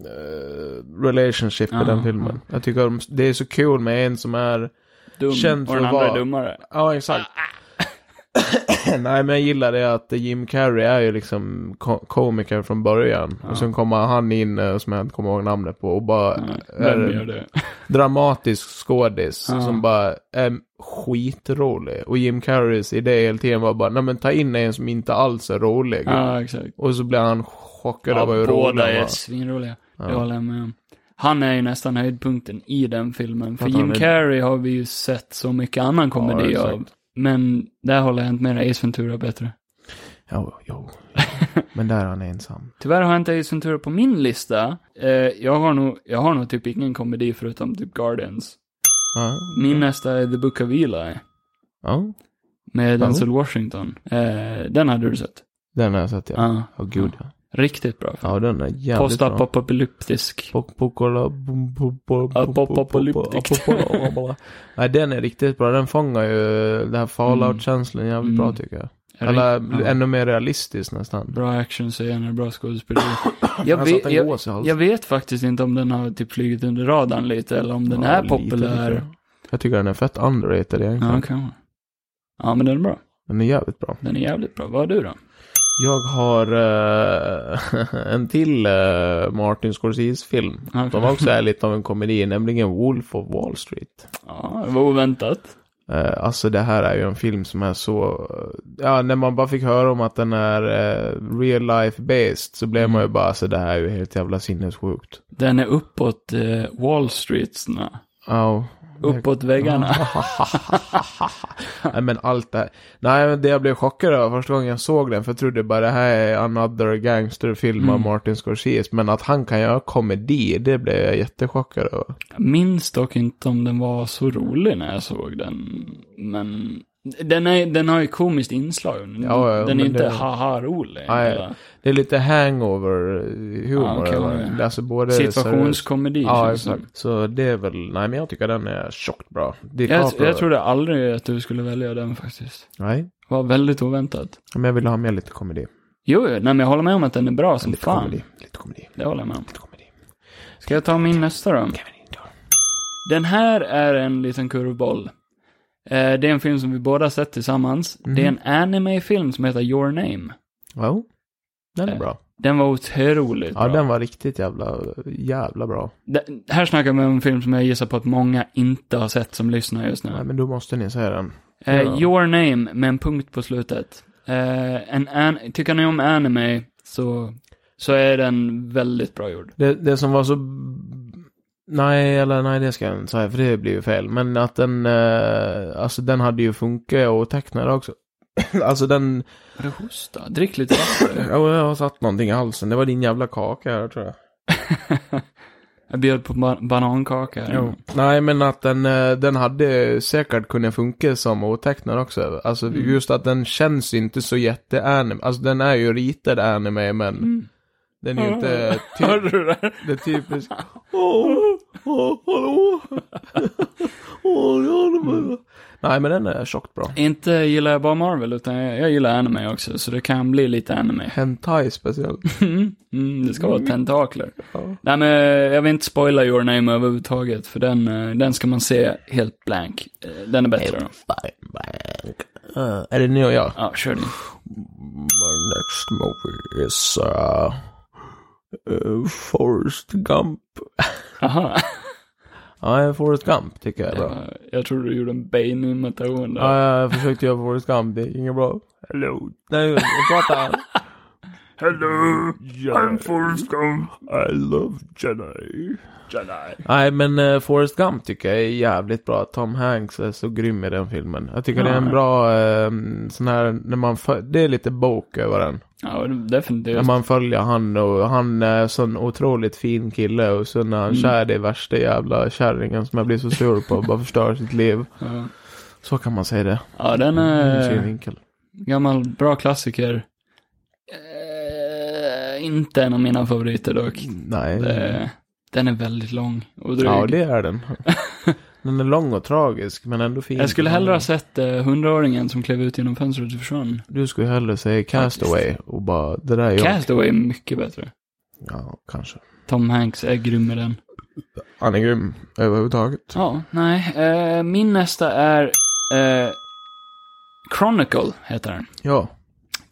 [SPEAKER 2] eh, relationship
[SPEAKER 1] Ja,
[SPEAKER 2] i den filmen. Jag tycker de- det är så kul med en som är
[SPEAKER 1] Dum.
[SPEAKER 2] Känd
[SPEAKER 1] och
[SPEAKER 2] för
[SPEAKER 1] den
[SPEAKER 2] att
[SPEAKER 1] andra är
[SPEAKER 2] vara-
[SPEAKER 1] dummare.
[SPEAKER 2] Ja, exakt. [coughs] Nej, men jag gillar det att Jim Carrey är ju liksom ko- komiker från början.
[SPEAKER 1] Ja.
[SPEAKER 2] Och sen kommer han in, eh, som jag inte kommer ihåg namnet på, och bara
[SPEAKER 1] Nej, Vem gör
[SPEAKER 2] är
[SPEAKER 1] det?
[SPEAKER 2] dramatisk skådis
[SPEAKER 1] Ja.
[SPEAKER 2] som bara är skitrolig. Och Jim Carreys idé hela tiden var bara, nej men ta in en som inte alls är rolig.
[SPEAKER 1] Ja, exakt.
[SPEAKER 2] Och så blir han chockad
[SPEAKER 1] Ja,
[SPEAKER 2] över hur rolig
[SPEAKER 1] båda
[SPEAKER 2] han
[SPEAKER 1] är
[SPEAKER 2] var.
[SPEAKER 1] svinroliga.
[SPEAKER 2] Ja.
[SPEAKER 1] Jag håller med om. Han är ju nästan höjdpunkten i den filmen. För
[SPEAKER 2] Att han
[SPEAKER 1] Jim
[SPEAKER 2] är-
[SPEAKER 1] Carrey har vi ju sett så mycket annan komedi
[SPEAKER 2] exakt.
[SPEAKER 1] av. Men där håller jag inte med Ace Ventura bättre.
[SPEAKER 2] Jo,
[SPEAKER 1] [laughs]
[SPEAKER 2] jo. Men där är han ensam.
[SPEAKER 1] Tyvärr har jag inte Ace Ventura på min lista. Eh, jag, har nog, jag har nog typ ingen komedi förutom typ Guardians.
[SPEAKER 2] Ja.
[SPEAKER 1] Min nästa är The Book of Eli.
[SPEAKER 2] Ja,
[SPEAKER 1] Med
[SPEAKER 2] Ja.
[SPEAKER 1] Denzel Washington. Eh, den hade du sett?
[SPEAKER 2] den har jag sett ja.
[SPEAKER 1] Ja.
[SPEAKER 2] Åh gud ja.
[SPEAKER 1] Riktigt bra.
[SPEAKER 2] Ja, den är jävligt bra.
[SPEAKER 1] Postapokalyptisk.
[SPEAKER 2] Pokola...
[SPEAKER 1] Apopopolyptikt.
[SPEAKER 2] Nej, den är riktigt bra. Den fångar ju den här Fallout-känslan jävligt bra
[SPEAKER 1] Mm.
[SPEAKER 2] tycker jag. Eller
[SPEAKER 1] Ja.
[SPEAKER 2] ännu mer realistisk nästan.
[SPEAKER 1] Bra actionscener, bra
[SPEAKER 2] [coughs]
[SPEAKER 1] skådespeleri. jag,
[SPEAKER 2] Jag satt
[SPEAKER 1] vet,
[SPEAKER 2] en
[SPEAKER 1] jag,
[SPEAKER 2] gås i halsen.
[SPEAKER 1] jag vet faktiskt inte om den har typ flugit under radarn lite eller om den
[SPEAKER 2] Ja,
[SPEAKER 1] är
[SPEAKER 2] lite,
[SPEAKER 1] populär.
[SPEAKER 2] lite. Jag tycker den är fett underrated
[SPEAKER 1] Ja,
[SPEAKER 2] egentligen.
[SPEAKER 1] kanske. Ja, men den är bra.
[SPEAKER 2] Den är jävligt bra.
[SPEAKER 1] Den är jävligt bra. Vad har du då?
[SPEAKER 2] Jag har eh, [laughs] en till eh, Martin Scorsese-film.
[SPEAKER 1] Ja,
[SPEAKER 2] Som också är lite av en komedi, nämligen Wolf of Wall Street.
[SPEAKER 1] [laughs] Ja, det var oväntat.
[SPEAKER 2] Eh, Alltså det här är ju en film som är så, ja när man bara fick höra om att den är eh, real life based så blev man ju bara, alltså det här är ju helt jävla sinnessjukt.
[SPEAKER 1] Den är uppåt eh, Wall Streetsna.
[SPEAKER 2] Ja.
[SPEAKER 1] [laughs] Uppåt väggarna.
[SPEAKER 2] Nej men allt det här. Nej men det jag blev chockad över första gången jag såg den, för jag trodde bara det här är another gangsterfilm av
[SPEAKER 1] Mm.
[SPEAKER 2] Martin Scorsese, men att han kan göra komedi, det blev jag jättechockad över.
[SPEAKER 1] Jag [laughs] minns dock inte om den var så rolig när jag såg den. Men den, är, den har ju komiskt inslag. Den,
[SPEAKER 2] Ja, ja,
[SPEAKER 1] den är
[SPEAKER 2] men
[SPEAKER 1] inte
[SPEAKER 2] det-
[SPEAKER 1] haha-rolig.
[SPEAKER 2] Nej,
[SPEAKER 1] eller
[SPEAKER 2] Det är lite hangover-humor.
[SPEAKER 1] Ja, okej,
[SPEAKER 2] eller?
[SPEAKER 1] ja, ja.
[SPEAKER 2] Alltså både seriös-
[SPEAKER 1] Situationskomedi.
[SPEAKER 2] Ja,
[SPEAKER 1] känns det som.
[SPEAKER 2] exakt. Så det är väl, nej men jag tycker den är tjockt bra.
[SPEAKER 1] Jag,
[SPEAKER 2] DiCaprio.
[SPEAKER 1] jag trodde aldrig att du skulle välja den faktiskt.
[SPEAKER 2] Nej,
[SPEAKER 1] Det var väldigt oväntat.
[SPEAKER 2] men jag ville ha med lite komedi.
[SPEAKER 1] Jo, jo, nej, men jag håller med om att den är bra som
[SPEAKER 2] Lite
[SPEAKER 1] fan.
[SPEAKER 2] komedi, lite komedi,
[SPEAKER 1] Det håller jag med om.
[SPEAKER 2] lite komedi.
[SPEAKER 1] Ska jag ta min nästa då?
[SPEAKER 2] Kevin Indoor.
[SPEAKER 1] Den här är en liten kurvboll. Eh, det är en film som vi båda sett tillsammans.
[SPEAKER 2] Mm.
[SPEAKER 1] Det är en anime-film som heter Your Name.
[SPEAKER 2] Ja, den är
[SPEAKER 1] Eh,
[SPEAKER 2] bra.
[SPEAKER 1] Den var otroligt
[SPEAKER 2] Ja,
[SPEAKER 1] bra.
[SPEAKER 2] den var riktigt jävla, jävla bra.
[SPEAKER 1] Den- Här snackar vi om en film som jag gissar på att många inte har sett som lyssnar just nu.
[SPEAKER 2] Nej, men då måste ni säga den.
[SPEAKER 1] Eh, your name med en punkt på slutet. Eh, en an- tycker ni om anime så, så är den väldigt bra gjord.
[SPEAKER 2] Det, det som var så... Nej, eller nej det ska jag inte säga för det blir ju fel. Men att den, eh, alltså den hade ju funkat och tecknade också. [coughs] alltså den,
[SPEAKER 1] Har du hosta? Drick lite vatten.
[SPEAKER 2] oh, jag har satt någonting i halsen. Det var din jävla kaka här tror jag.
[SPEAKER 1] jag bjöd på ba- banankaka. här.
[SPEAKER 2] Mm. Nej, men att den, eh, den hade säkert kunnat funka som otecknad också. Alltså just att den känns inte så jätteanime. Alltså den är ju ritad anime, men den är ju inte
[SPEAKER 1] [laughs] Hörde
[SPEAKER 2] typ,
[SPEAKER 1] du det?
[SPEAKER 2] det typiska. [laughs] Åh, åh, hallå. Åh, ja, det var- Nej, men den är tjockt bra.
[SPEAKER 1] Inte gillar jag bara Marvel, utan jag, jag gillar anime också, så det kan bli lite
[SPEAKER 2] [laughs]
[SPEAKER 1] anime.
[SPEAKER 2] Hentai speciellt.
[SPEAKER 1] Mm, det ska vara tentakler.
[SPEAKER 2] Ja.
[SPEAKER 1] Nej, men eh, jag vill inte spoila Your Name överhuvudtaget, för den, eh, den ska man se helt blank. Eh, Den är bättre då.
[SPEAKER 2] Eh, är det nu jag?
[SPEAKER 1] Ja, kör din.
[SPEAKER 2] my next movie is uh, uh Forrest Gump.
[SPEAKER 1] Aha. [laughs]
[SPEAKER 2] Ja, Forrest Gump tycker jag är bra.
[SPEAKER 1] Ja, jag tror du gjorde en Bane-imitation där.
[SPEAKER 2] Ja, jag försökte göra Forrest Gump, det är inget bra. Hello. Nej, jag pratar.
[SPEAKER 3] Hello, I'm
[SPEAKER 2] Yeah,
[SPEAKER 3] Forrest Gump.
[SPEAKER 2] I love Jedi.
[SPEAKER 3] Jedi.
[SPEAKER 2] Nej, men eh, Forrest Gump tycker jag är jävligt bra. Tom Hanks är så grym i den filmen. Jag tycker det är en bra eh, sån här, när man föl- det är lite bok över den.
[SPEAKER 1] Ja, det- definitivt.
[SPEAKER 2] När man följer han och han är en sån otroligt fin kille och sen när han
[SPEAKER 3] Mm.
[SPEAKER 2] kär det värsta jävla kärringen som jag blir så sur på och bara förstör sitt liv.
[SPEAKER 1] Ja.
[SPEAKER 2] Så kan man säga det.
[SPEAKER 1] Ja, den
[SPEAKER 2] Mm, Ur sin
[SPEAKER 1] är
[SPEAKER 2] vinkel.
[SPEAKER 1] gammal bra klassiker. Eh, eh, inte en av mina favoriter dock.
[SPEAKER 2] Nej.
[SPEAKER 1] Det, Eh, den är väldigt lång och dryg.
[SPEAKER 2] ja, det
[SPEAKER 1] [laughs]
[SPEAKER 2] är den. Den är lång och tragisk, men ändå fin.
[SPEAKER 1] Jag skulle hellre ha sett eh, hundraåringen som klev ut genom fönstret och försvann.
[SPEAKER 2] Du skulle hellre säga Castaway och bara, det där är jag.
[SPEAKER 1] Castaway är mycket bättre.
[SPEAKER 2] ja, kanske.
[SPEAKER 1] Tom Hanks är grym med den.
[SPEAKER 2] Han är grym överhuvudtaget.
[SPEAKER 1] Ja, nej. Eh, min nästa är eh, Chronicle, heter den.
[SPEAKER 2] Ja,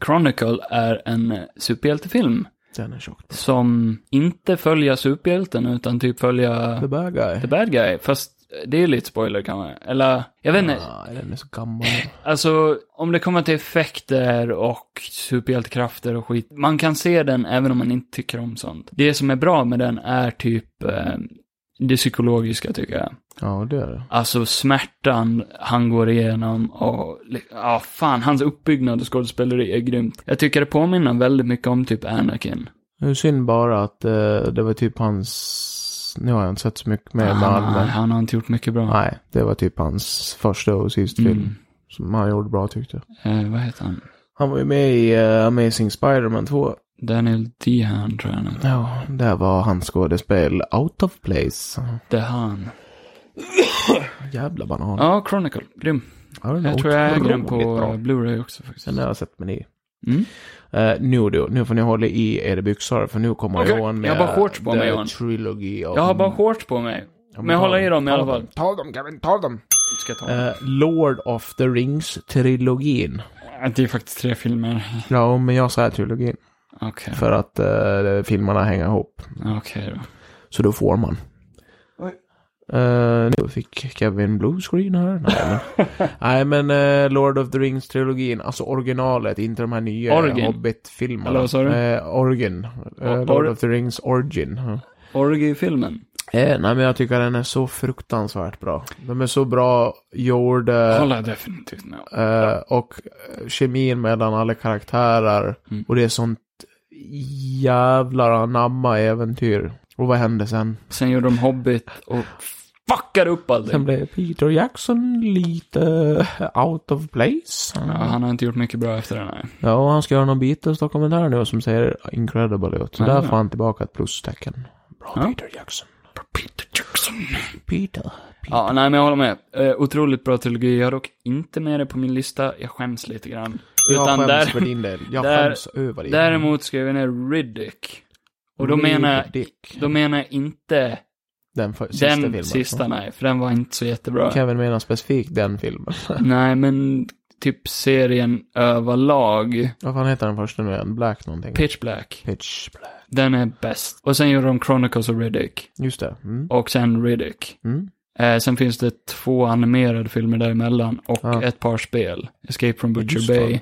[SPEAKER 1] Chronicle är en eh, superhjältefilm
[SPEAKER 2] den är tjockt.
[SPEAKER 1] som inte följer superhjälten utan typ
[SPEAKER 2] The
[SPEAKER 1] följer
[SPEAKER 2] bad guy.
[SPEAKER 1] the bad guy. Fast det är lite spoiler kan man, eller jag vet inte.
[SPEAKER 2] Ah, den är så
[SPEAKER 1] [laughs]
[SPEAKER 2] gammal.
[SPEAKER 1] Alltså, om det kommer till effekter och superhjältekrafter och skit. Man kan se den även om man inte tycker om sånt. Det som är bra med den är typ eh, det psykologiska tycker jag.
[SPEAKER 2] Ja, det är det.
[SPEAKER 1] Alltså smärtan han går igenom och, li- ja fan, hans uppbyggnad och skådespeleri är grymt. Jag tycker det påminner väldigt mycket om typ Anakin.
[SPEAKER 2] Det är synd bara att eh, det var typ hans... Nu har jag inte sett så mycket mer med
[SPEAKER 1] han,
[SPEAKER 2] han, men...
[SPEAKER 1] han har inte gjort mycket bra.
[SPEAKER 2] Nej, det var typ hans första och sista film.
[SPEAKER 1] Mm.
[SPEAKER 2] Som han gjorde bra tyckte jag.
[SPEAKER 1] Eh, vad heter han?
[SPEAKER 2] Han var ju med i eh, Amazing Spider-Man 2.
[SPEAKER 1] Daniel Dehan tror jag nu.
[SPEAKER 2] Ja, där var hans skådespel out of place.
[SPEAKER 1] Dehan.
[SPEAKER 2] Jävla banan.
[SPEAKER 1] Ja, Chronicle. Grym.
[SPEAKER 2] Ja, den är
[SPEAKER 1] Jag tror jag äger den
[SPEAKER 2] otroligt
[SPEAKER 1] på
[SPEAKER 2] bra.
[SPEAKER 1] Blu-ray också faktiskt.
[SPEAKER 2] Den har jag sett med ni.
[SPEAKER 1] Mm.
[SPEAKER 2] Eh, nu du, nu får ni hålla i era byxor för nu kommer
[SPEAKER 1] Okej,
[SPEAKER 2] Johan med...
[SPEAKER 1] jag har bara shorts på
[SPEAKER 2] the
[SPEAKER 1] mig, Johan.
[SPEAKER 2] Trilogy of...
[SPEAKER 1] Jag har bara shorts på mig. Men jag håller i dem i alla fall.
[SPEAKER 2] Ta dem Kevin, ta dem.
[SPEAKER 1] Ska jag ta dem?
[SPEAKER 2] Eh, Lord of the Rings-trilogin.
[SPEAKER 1] Ja, Eh, Det är faktiskt tre filmer.
[SPEAKER 2] Ja, men jag säger trilogin.
[SPEAKER 1] Okej,
[SPEAKER 2] För att eh, filmerna hänger ihop.
[SPEAKER 1] okej då.
[SPEAKER 2] Så då får man. Eh, nu fick Kevin bluescreen här. Nej
[SPEAKER 1] [laughs]
[SPEAKER 2] men, Nej, men eh, Lord of the Rings-trilogin, alltså originalet, inte de här nya
[SPEAKER 1] Origin.
[SPEAKER 2] Hobbit-filmerna.
[SPEAKER 1] Eller vad sa du?
[SPEAKER 2] Eh, origin. Eh,
[SPEAKER 1] Or-
[SPEAKER 2] Lord of the Rings Origin. ja.
[SPEAKER 1] Orgy-filmen.
[SPEAKER 2] Eh, nej men jag tycker den är så fruktansvärt bra. De är så bra gjorda.
[SPEAKER 1] Håller jag definitivt med om.
[SPEAKER 2] Eh, och kemin mellan alla karaktärer.
[SPEAKER 1] Mm.
[SPEAKER 2] Och det är sånt jävlar anamma äventyr. Och vad hände sen?
[SPEAKER 1] Sen gjorde de Hobbit och fuckade upp
[SPEAKER 2] Sen
[SPEAKER 1] allting.
[SPEAKER 2] blev Peter Jackson lite out of place.
[SPEAKER 1] Ja, han har inte gjort mycket bra efter den här.
[SPEAKER 2] Ja, och han ska göra någon Beatles-dokumentär nu som ser incredible ut. Så
[SPEAKER 1] Ja.
[SPEAKER 2] där får han tillbaka ett plustecken. Bra
[SPEAKER 1] Ja.
[SPEAKER 2] Peter Jackson.
[SPEAKER 1] Peter Jackson.
[SPEAKER 2] Peter.
[SPEAKER 1] Ja, nej men jag håller med. Eh, otroligt bra trilogi. Jag har dock inte med det på min lista. Jag skäms lite grann.
[SPEAKER 2] jag
[SPEAKER 1] Utan
[SPEAKER 2] skäms
[SPEAKER 1] där-
[SPEAKER 2] för din del. Jag
[SPEAKER 1] där-
[SPEAKER 2] skäms över dig.
[SPEAKER 1] Däremot skrev jag ner Riddick. Och då menar jag,
[SPEAKER 2] Dick.
[SPEAKER 1] då menar jag inte
[SPEAKER 2] den för, sista
[SPEAKER 1] den
[SPEAKER 2] filmen.
[SPEAKER 1] sista, nej. För den var inte så jättebra.
[SPEAKER 2] Kevin menar specifikt den filmen.
[SPEAKER 1] Nej, men typ serien överlag.
[SPEAKER 2] Vad fan heter den första nu igen? Black någonting?
[SPEAKER 1] Pitch Black.
[SPEAKER 2] Pitch Black.
[SPEAKER 1] Den är bäst. Och sen gjorde de Chronicles of Riddick.
[SPEAKER 2] Just det. Mm.
[SPEAKER 1] Och sen Riddick.
[SPEAKER 2] Mm.
[SPEAKER 1] Eh, sen finns det två animerade filmer däremellan och
[SPEAKER 2] Ja.
[SPEAKER 1] ett par spel. Escape from Butcher
[SPEAKER 2] Just det.
[SPEAKER 1] Bay.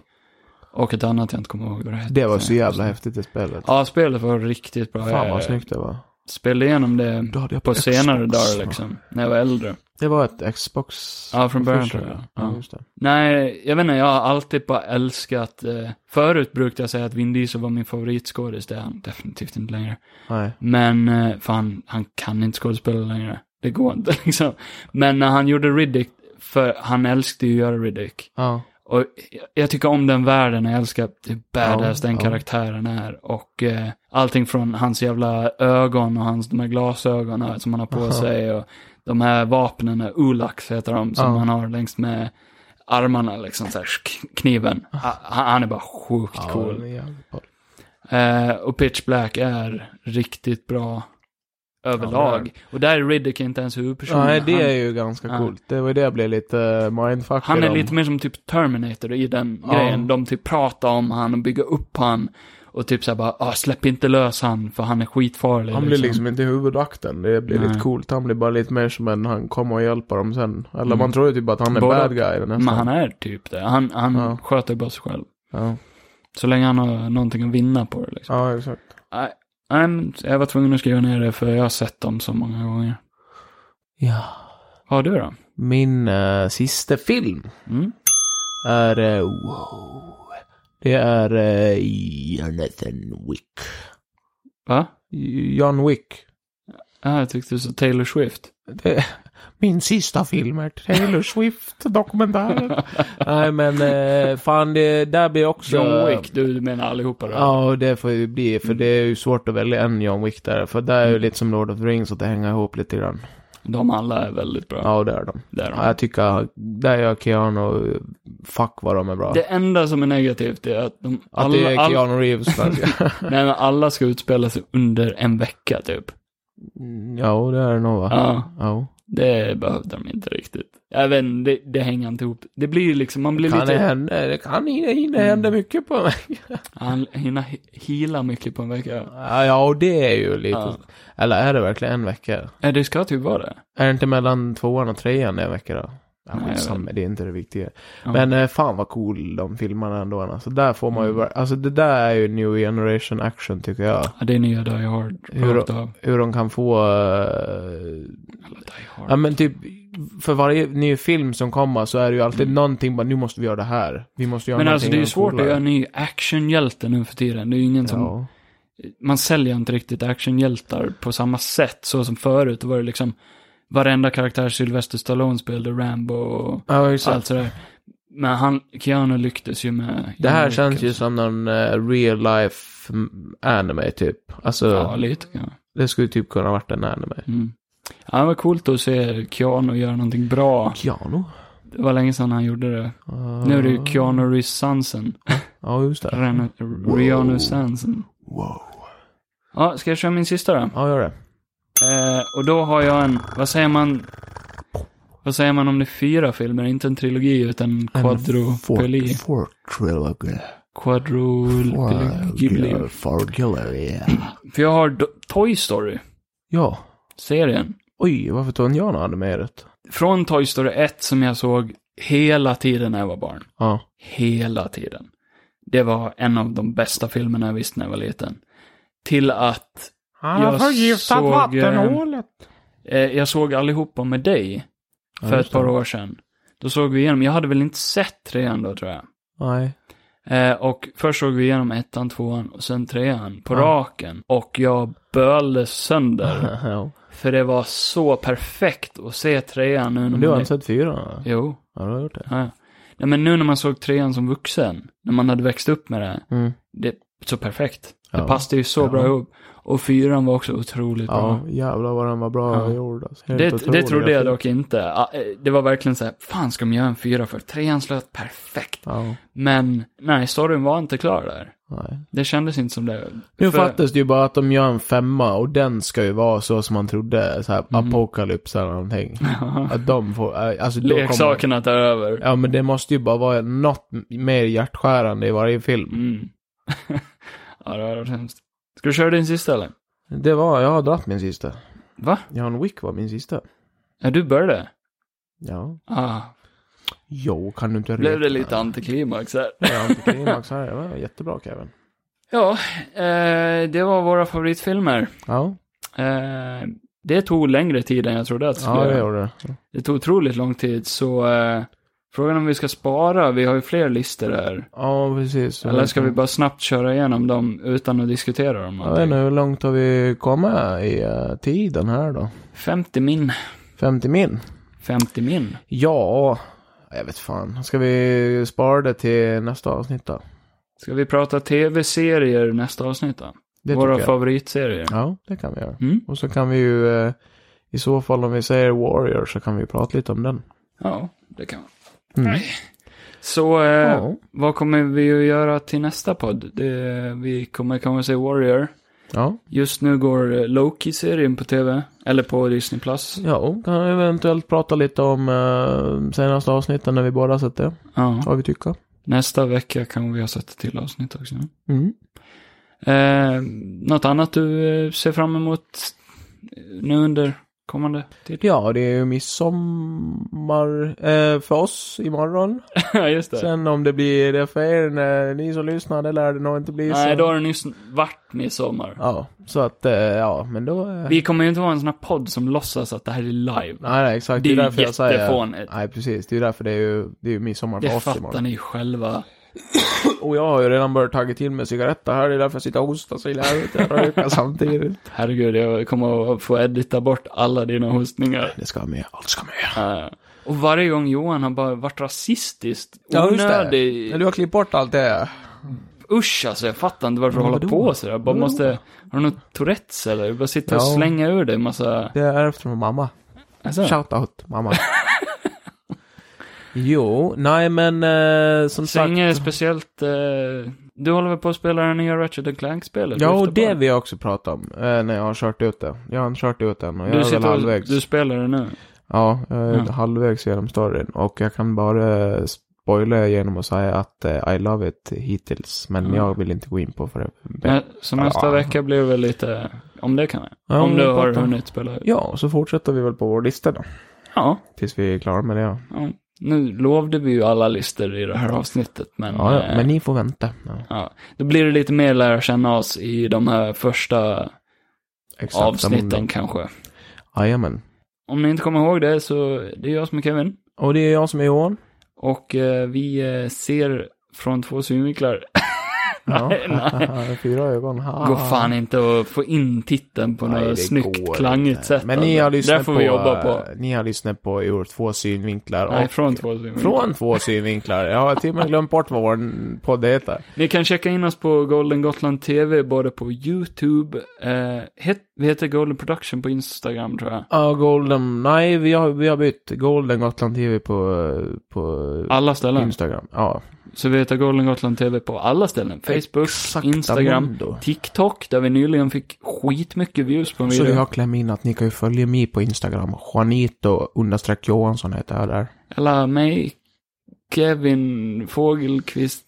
[SPEAKER 1] Och ett annat jag inte kommer ihåg vad det hette.
[SPEAKER 2] Det var så jävla häftigt i spelet.
[SPEAKER 1] Ja, spelet var riktigt bra.
[SPEAKER 2] Fan vad
[SPEAKER 1] Jag
[SPEAKER 2] snyggt det var.
[SPEAKER 1] Spelade igenom det
[SPEAKER 2] Då hade jag
[SPEAKER 1] på senare
[SPEAKER 2] Xbox.
[SPEAKER 1] dagar liksom. När jag var äldre.
[SPEAKER 2] Det var ett Xbox.
[SPEAKER 1] Ja, från början
[SPEAKER 2] official,
[SPEAKER 1] tror jag.
[SPEAKER 2] Ja,
[SPEAKER 1] Ja.
[SPEAKER 2] just det.
[SPEAKER 1] Nej, jag vet inte, jag har alltid bara älskat, eh, förut brukade jag säga att Vin Diesel var min favoritskådis, det är han definitivt inte längre.
[SPEAKER 2] Nej.
[SPEAKER 1] Men, eh, för han, han kan inte skådespela längre. Det går inte [laughs] liksom. Men när han gjorde Riddick, för han älskade ju att göra Riddick.
[SPEAKER 2] Ja.
[SPEAKER 1] Och jag- jag tycker om den världen, jag älskar hur badass
[SPEAKER 2] Ja,
[SPEAKER 1] den
[SPEAKER 2] ja.
[SPEAKER 1] karaktären är. Och eh, allting från hans jävla ögon och hans, de här glasögonen här som han har på
[SPEAKER 2] Aha.
[SPEAKER 1] sig. Och de här vapnen, eh, Ulax heter de, som
[SPEAKER 2] Ja.
[SPEAKER 1] han har längs med armarna liksom, så här, sk- kniven. Ah, Han han är bara sjukt
[SPEAKER 2] Ja,
[SPEAKER 1] cool.
[SPEAKER 2] den är jävligt bra.
[SPEAKER 1] Eh, och Pitch Black är riktigt bra överlag. och där är Riddick inte ens huvudpersonen.
[SPEAKER 2] Nej, det är
[SPEAKER 1] han,
[SPEAKER 2] ju ganska
[SPEAKER 1] Ja.
[SPEAKER 2] coolt. Det var ju det jag blev lite eh, mindfuckad
[SPEAKER 1] han är
[SPEAKER 2] om.
[SPEAKER 1] lite mer som typ Terminator i den
[SPEAKER 2] Ja.
[SPEAKER 1] grejen. De typ pratar om han och bygger upp han. Och typ såhär bara, ah, släpp inte lös han för han är skitfarlig.
[SPEAKER 2] Han blir liksom inte huvudakten. Det blir lite
[SPEAKER 1] Nej.
[SPEAKER 2] coolt. Han blir bara lite mer som en han kommer och hjälper dem sen. Eller
[SPEAKER 1] Mm.
[SPEAKER 2] man tror ju typ att han är
[SPEAKER 1] Både
[SPEAKER 2] bad
[SPEAKER 1] och.
[SPEAKER 2] guy nästan.
[SPEAKER 1] Men han är typ det. Han, han
[SPEAKER 2] Ja.
[SPEAKER 1] sköter bara sig själv.
[SPEAKER 2] Ja.
[SPEAKER 1] Så länge han har någonting att vinna på det liksom.
[SPEAKER 2] ja, exakt.
[SPEAKER 1] Nej, nej, men jag var tvungen att skriva ner det för jag har sett dem så många gånger.
[SPEAKER 2] Ja.
[SPEAKER 1] Vad har du då?
[SPEAKER 2] Min eh, sista film
[SPEAKER 1] Mm?
[SPEAKER 2] är... eh, wow. Det är eh, Jonathan Wick.
[SPEAKER 1] Va?
[SPEAKER 2] John Wick.
[SPEAKER 1] Ja, jag tyckte du sa Taylor Swift.
[SPEAKER 2] det, min sista film är [laughs] Taylor Swift-dokumentären. Nej, men eh, fan, det där blir också...
[SPEAKER 1] John Wick, du menar allihopa då?
[SPEAKER 2] Ja, och det får ju bli, för det är ju svårt att välja en John Wick där. För där är
[SPEAKER 1] Mm.
[SPEAKER 2] ju lite som Lord of the Rings, att det hänger ihop lite grann.
[SPEAKER 1] De alla är väldigt bra.
[SPEAKER 2] Ja, och det är de.
[SPEAKER 1] Det, är
[SPEAKER 2] Ja,
[SPEAKER 1] de.
[SPEAKER 2] jag tycker, där gör Keanu, fuck vad de är bra.
[SPEAKER 1] det enda som är negativt är att de
[SPEAKER 2] att
[SPEAKER 1] alla,
[SPEAKER 2] det är
[SPEAKER 1] alla, [laughs]
[SPEAKER 2] Keanu Reeves. alltså. kanske.
[SPEAKER 1] nej, men alla ska utspela sig under en vecka typ.
[SPEAKER 2] Mm, ja, det är det nog va?
[SPEAKER 1] Ja,
[SPEAKER 2] Ja.
[SPEAKER 1] det behövde de inte riktigt. Jag vet inte, det, det hänger inte ihop. Det blir liksom, man blir
[SPEAKER 2] Kan det
[SPEAKER 1] lite... Mm.
[SPEAKER 2] hända? Det kan hinna hinna hända mycket på mig.
[SPEAKER 1] Han hinner he- heala mycket på en vecka.
[SPEAKER 2] Ja, ja, och det är ju lite...
[SPEAKER 1] Ja.
[SPEAKER 2] Eller är det verkligen en vecka?
[SPEAKER 1] Ja, det ska typ vara det.
[SPEAKER 2] Är det inte mellan tvåan och trean det är en vecka då? Ja,
[SPEAKER 1] Nej, jag
[SPEAKER 2] skitsamma, det är inte det viktiga.
[SPEAKER 1] Ja.
[SPEAKER 2] Men eh, fan vad cool de filmarna ändå. Alltså där får
[SPEAKER 1] Mm.
[SPEAKER 2] man ju, ver- alltså det där är ju new generation action tycker jag.
[SPEAKER 1] Ja, det är nya Die Hard.
[SPEAKER 2] Hur-
[SPEAKER 1] rakt av.
[SPEAKER 2] Hur de kan få, eh,
[SPEAKER 1] Eller Die Hard.
[SPEAKER 2] ja men typ, för varje ny film som kommer så är det ju alltid någonting bara, nu måste vi göra det här. Vi måste göra
[SPEAKER 1] Mm. Men
[SPEAKER 2] någonting
[SPEAKER 1] alltså det är ju
[SPEAKER 2] som
[SPEAKER 1] svårt att
[SPEAKER 2] coolare.
[SPEAKER 1] göra en ny actionhjälte nu för tiden. Det är ju ingen som,
[SPEAKER 2] Ja.
[SPEAKER 1] man säljer inte riktigt actionhjältar på samma sätt så som förut. Då var det liksom varenda karaktär Sylvester Stallone spelade Rambo och
[SPEAKER 2] ja, exakt.
[SPEAKER 1] allt sådär. Men han, Keanu lycktes ju med...
[SPEAKER 2] Det här
[SPEAKER 1] med-
[SPEAKER 2] känns ju som någon eh, real life mm, anime typ. Alltså,
[SPEAKER 1] Ja, lite grann.
[SPEAKER 2] det skulle ju typ kunna ha varit en anime.
[SPEAKER 1] Mm. Ja, det var coolt att se Keanu göra någonting bra.
[SPEAKER 2] Keanu?
[SPEAKER 1] Det var länge sedan han gjorde det. Nu är det
[SPEAKER 2] Ah.
[SPEAKER 1] ju Keanu Reeves Sansen.
[SPEAKER 2] Ja, just det.
[SPEAKER 1] Ren- Keanu Sansen.
[SPEAKER 2] Wow.
[SPEAKER 1] Ja, ska jag köra min sista då?
[SPEAKER 2] Ja, gör det.
[SPEAKER 1] Eh, och då har jag en, vad säger man? Vad säger man om det är fyra filmer? Inte en trilogi utan en quadropeli.
[SPEAKER 4] Fort Trilogy.
[SPEAKER 1] Quadropeli. För jag har Do- Toy Story,
[SPEAKER 2] Ja.
[SPEAKER 1] serien.
[SPEAKER 2] Oj, varför tog inte jag något animerat?
[SPEAKER 1] Från Toy Story 1 som jag såg hela tiden när jag var barn.
[SPEAKER 2] Ja.
[SPEAKER 1] Hela tiden. Det var en av de bästa filmerna jag visste när jag var liten. Till att
[SPEAKER 2] Han
[SPEAKER 1] har förgiftat vattenhålet. eh, jag såg allihopa med dig för ett par år sedan. Då såg vi igenom, jag hade väl inte sett trean då tror jag.
[SPEAKER 2] Nej. [laughs]
[SPEAKER 1] Eh, och först såg vi igenom ettan, tvåan och sen trean på
[SPEAKER 2] Ja.
[SPEAKER 1] raken. Och jag bölade
[SPEAKER 2] [laughs]
[SPEAKER 1] sönder.
[SPEAKER 2] ja.
[SPEAKER 1] för det var så perfekt att se trean nu när
[SPEAKER 2] Men du har
[SPEAKER 1] man...
[SPEAKER 2] inte sett fyra?
[SPEAKER 1] Jo.
[SPEAKER 2] Ja, du har gjort det.
[SPEAKER 1] Ja. Nej, men nu när man såg trean som vuxen, när man hade växt upp med det,
[SPEAKER 2] Mm.
[SPEAKER 1] det är så perfekt. Det
[SPEAKER 2] Ja.
[SPEAKER 1] passade ju så bra
[SPEAKER 2] Ja.
[SPEAKER 1] ihop. Och fyran var också otroligt
[SPEAKER 2] Ja,
[SPEAKER 1] bra.
[SPEAKER 2] jävlar vad den var bra
[SPEAKER 1] Ja.
[SPEAKER 2] gjord. Alltså. Helt
[SPEAKER 1] Det, det
[SPEAKER 2] otrolig
[SPEAKER 1] trodde jag
[SPEAKER 2] grafik.
[SPEAKER 1] dock inte. Ah, eh, Det var verkligen så här, fan ska de göra en fyra för? Trean slöt perfekt.
[SPEAKER 2] Ja.
[SPEAKER 1] Men, nej, storyn var inte klar där.
[SPEAKER 2] Nej.
[SPEAKER 1] Det kändes inte som det.
[SPEAKER 2] Nu
[SPEAKER 1] För- [laughs]
[SPEAKER 2] fattas det ju bara att de gör en femma och den ska ju vara så som man trodde, så här
[SPEAKER 1] Mm.
[SPEAKER 2] apokalyps eller någonting. Att de får, eh, alltså då kommer...
[SPEAKER 1] Leksakerna tar över.
[SPEAKER 2] Ja men det måste ju bara vara något mer hjärtskärande i varje film.
[SPEAKER 1] Mm. [laughs] ja, det hade varit hemskt. Ska du köra din sista eller?
[SPEAKER 2] Det var, jag har dratt min sista.
[SPEAKER 1] Va?
[SPEAKER 2] John Wick var min sista.
[SPEAKER 1] Ja, du började?
[SPEAKER 2] Ja.
[SPEAKER 1] Ah,
[SPEAKER 2] Jo, kan du inte
[SPEAKER 1] blev
[SPEAKER 2] reta
[SPEAKER 1] det lite antiklimax här?
[SPEAKER 2] mig? Ja, antiklimax här. Det var jättebra Kevin.
[SPEAKER 1] Ja, eh, det var våra favoritfilmer.
[SPEAKER 2] Ja,
[SPEAKER 1] Eh, det tog längre tid än jag trodde att det skulle
[SPEAKER 2] ja det
[SPEAKER 1] göra.
[SPEAKER 2] gjorde det.
[SPEAKER 1] Det tog otroligt lång tid, så eh, frågan om vi ska spara, vi har ju fler listor här.
[SPEAKER 2] Ja, precis.
[SPEAKER 1] Eller ska vi bara snabbt köra igenom dem utan att diskutera dem?
[SPEAKER 2] Jag vet inte,
[SPEAKER 1] någonting?
[SPEAKER 2] hur långt har vi kommit i eh, tiden här då?
[SPEAKER 1] 50 min,
[SPEAKER 2] 50 min?
[SPEAKER 1] 50 min.
[SPEAKER 2] Ja, jag vet fan. Ska vi spara det till nästa avsnitt då?
[SPEAKER 1] Ska vi prata tv-serier nästa avsnitt då?
[SPEAKER 2] Det
[SPEAKER 1] Våra
[SPEAKER 2] tycker jag.
[SPEAKER 1] favoritserier.
[SPEAKER 2] Ja, det kan vi göra.
[SPEAKER 1] Mm.
[SPEAKER 2] Och så kan vi ju, eh, i så fall om vi säger Warrior så kan vi prata lite om den.
[SPEAKER 1] Ja, det kan man.
[SPEAKER 2] Mm.
[SPEAKER 1] Så eh,
[SPEAKER 2] Ja.
[SPEAKER 1] vad kommer vi att göra till nästa podd? Det, vi kommer kanske se Warrior.
[SPEAKER 2] Ja,
[SPEAKER 1] Just nu går eh, Loki-serien på tv, eller på Disney+. Plus.
[SPEAKER 2] ja och kan eventuellt prata lite om eh, senaste avsnitten när vi båda sett det.
[SPEAKER 1] Ja.
[SPEAKER 2] Vad vi tycker.
[SPEAKER 1] Nästa vecka kan vi ha sett ett till avsnitt också.
[SPEAKER 2] Mm.
[SPEAKER 1] Eh, något annat du eh, ser fram emot eh, nu under kommande
[SPEAKER 2] [laughs]
[SPEAKER 1] tid?
[SPEAKER 2] Ja, det är ju midsommar eh, för oss imorgon.
[SPEAKER 1] Ja, just det.
[SPEAKER 2] Sen om det blir det för er, när ni som lyssnar, det lär det nog inte bli.
[SPEAKER 1] Nej,
[SPEAKER 2] så.
[SPEAKER 1] då har det nyss varit midsommar.
[SPEAKER 2] Ja, så att, eh, ja, men då... eh,
[SPEAKER 1] Vi kommer ju inte vara en sån här podd som låtsas att det här är live.
[SPEAKER 2] Nej, nej, exakt.
[SPEAKER 1] Det
[SPEAKER 2] Det
[SPEAKER 1] är ju
[SPEAKER 2] är därför jag säger...
[SPEAKER 1] jättefånigt.
[SPEAKER 2] Nej, precis. Det är därför det är ju, det är ju midsommar
[SPEAKER 1] Det
[SPEAKER 2] för oss
[SPEAKER 1] fattar
[SPEAKER 2] imorgon.
[SPEAKER 1] ni ju själva.
[SPEAKER 2] Och jag har ju redan börjat tagit till mig cigaretter här, det är därför jag sitter och hostar så illa ut. Jag [laughs] röker samtidigt.
[SPEAKER 1] Herregud, jag kommer att få edita bort alla dina
[SPEAKER 2] [laughs]
[SPEAKER 1] hostningar.
[SPEAKER 2] Det ska med, allt ska med.
[SPEAKER 1] Eh, och varje gång Johan har bara varit rasistiskt,
[SPEAKER 2] Ja, just det.
[SPEAKER 1] onödig.
[SPEAKER 2] Men du har klippt bort allt det.
[SPEAKER 1] Usch alltså, jag fattar inte varför du håller
[SPEAKER 2] vadå?
[SPEAKER 1] på sådär. Bara måste, har du något Tourettes eller? Du bara sitter och
[SPEAKER 2] Ja.
[SPEAKER 1] slänga ur dig en massa...
[SPEAKER 2] Det är efter min mamma.
[SPEAKER 1] Alltså,
[SPEAKER 2] Shout out, [laughs] mamma. jo, nej men eh, som
[SPEAKER 1] Sänge är
[SPEAKER 2] sagt.
[SPEAKER 1] speciellt... Eh, du håller väl på att spela det nya Ratchet Clank-spelet?
[SPEAKER 2] Ja, och
[SPEAKER 1] Efter
[SPEAKER 2] det
[SPEAKER 1] bara.
[SPEAKER 2] vill jag också prata om. Eh, när jag har kört ut det. Jag har kört ut den och jag
[SPEAKER 1] Du
[SPEAKER 2] är väl
[SPEAKER 1] sitter och,
[SPEAKER 2] halvvägs.
[SPEAKER 1] du spelar det nu?
[SPEAKER 2] Ja, jag är
[SPEAKER 1] Ja.
[SPEAKER 2] halvvägs genom storyn. Och jag kan bara spoila genom att säga att eh, I love it hittills. Men
[SPEAKER 1] Mm.
[SPEAKER 2] jag vill inte gå in på för det.
[SPEAKER 1] Nej, så nästa
[SPEAKER 2] Ja.
[SPEAKER 1] vecka blir väl lite... Om det kan jag.
[SPEAKER 2] Ja,
[SPEAKER 1] om
[SPEAKER 2] vi
[SPEAKER 1] du har
[SPEAKER 2] pratar.
[SPEAKER 1] hunnit spela ut.
[SPEAKER 2] Ja, och så fortsätter vi väl på vår lista då.
[SPEAKER 1] Ja.
[SPEAKER 2] Tills vi är klara med det. Ja,
[SPEAKER 1] ja. Nu lovde vi ju alla listor i det här avsnittet, men...
[SPEAKER 2] ja, ja,
[SPEAKER 1] eh,
[SPEAKER 2] men ni får vänta. Ja,
[SPEAKER 1] ja. Då blir det lite mer lära känna oss i de här första
[SPEAKER 2] exakt.
[SPEAKER 1] avsnitten kanske.
[SPEAKER 2] Jajamän.
[SPEAKER 1] Om ni inte kommer ihåg det så, det är jag som är Kevin.
[SPEAKER 2] Och det är jag som är Johan.
[SPEAKER 1] Och eh, vi eh, ser från två synvinklar.
[SPEAKER 2] Ja.
[SPEAKER 1] Nej, [laughs] nej.
[SPEAKER 2] [laughs] Fyra ögon. Ha.
[SPEAKER 1] Går fan inte att få in titeln på
[SPEAKER 2] Ah. Nej,
[SPEAKER 1] något
[SPEAKER 2] det
[SPEAKER 1] snyggt,
[SPEAKER 2] går
[SPEAKER 1] klangigt
[SPEAKER 2] inte.
[SPEAKER 1] sätt.
[SPEAKER 2] Men ni har
[SPEAKER 1] alltså.
[SPEAKER 2] lyssnat
[SPEAKER 1] Där får
[SPEAKER 2] på,
[SPEAKER 1] vi jobba på.
[SPEAKER 2] eh, Ni har lyssnat på ur två synvinklar.
[SPEAKER 1] Nej,
[SPEAKER 2] och
[SPEAKER 1] från två synvinklar.
[SPEAKER 2] från två synvinklar. Jag har till och med glömt bort vad vår podd heter.
[SPEAKER 1] Ni kan checka in oss på Golden Gotland TV, både på YouTube, eh, het, vi heter Golden Production på Instagram tror jag.
[SPEAKER 2] Ja, Golden. Nej, vi har, vi har bytt. Golden Gotland TV på, eh, på
[SPEAKER 1] Alla ställen.
[SPEAKER 2] Instagram. Ja.
[SPEAKER 1] Så vi heter Golden Gotland TV på alla ställen. Facebook,
[SPEAKER 2] Exakt
[SPEAKER 1] Instagram,
[SPEAKER 2] Mundo.
[SPEAKER 1] TikTok, där vi nyligen fick skitmycket views på en
[SPEAKER 2] Så
[SPEAKER 1] video.
[SPEAKER 2] vi har klämt in att ni kan ju följa mig på Instagram. Juanito understreck Johansson heter jag där.
[SPEAKER 1] Eller mig, Kevin Fågelqvist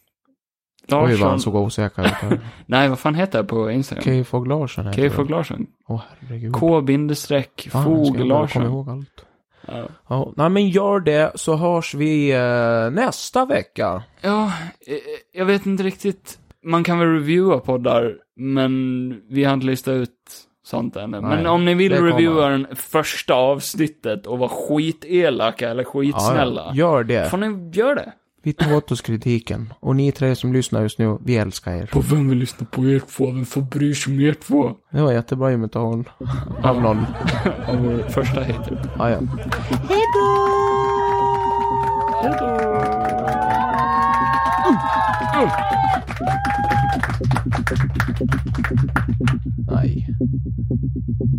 [SPEAKER 2] Oj, vad
[SPEAKER 1] Larsson.
[SPEAKER 2] han såg osäker ut.
[SPEAKER 1] [laughs] Nej, vad fan heter jag på Instagram?
[SPEAKER 2] K-Fog Larsson heter
[SPEAKER 1] K.
[SPEAKER 2] jag.
[SPEAKER 1] Fågel Larsson.
[SPEAKER 2] Åh, herregud.
[SPEAKER 1] K bindestreck
[SPEAKER 2] Fan, jag ska
[SPEAKER 1] Fågel
[SPEAKER 2] ändå komma
[SPEAKER 1] Larsson.
[SPEAKER 2] ihåg allt.
[SPEAKER 1] Ja.
[SPEAKER 2] Ja, nej men gör det så hörs vi eh, nästa vecka.
[SPEAKER 1] Ja, eh, jag vet inte riktigt. Man kan väl reviewa poddar, men vi har inte listat ut sånt ännu. men
[SPEAKER 2] Nej,
[SPEAKER 1] om ni vill
[SPEAKER 2] det kommer.
[SPEAKER 1] reviewa den första avsnittet och vara skitelaka eller skitsnälla,
[SPEAKER 2] Ja, gör det.
[SPEAKER 1] får ni göra det.
[SPEAKER 2] Vi tar åt oss kritiken. Och ni tre som lyssnar just nu, vi älskar er.
[SPEAKER 1] På vem vill lyssna på er två? Vem får bry sig om er två?
[SPEAKER 2] Det var jättebra imitation. Av någon.
[SPEAKER 1] Av vår första hater.
[SPEAKER 2] Ja, ja. Oh, Nej.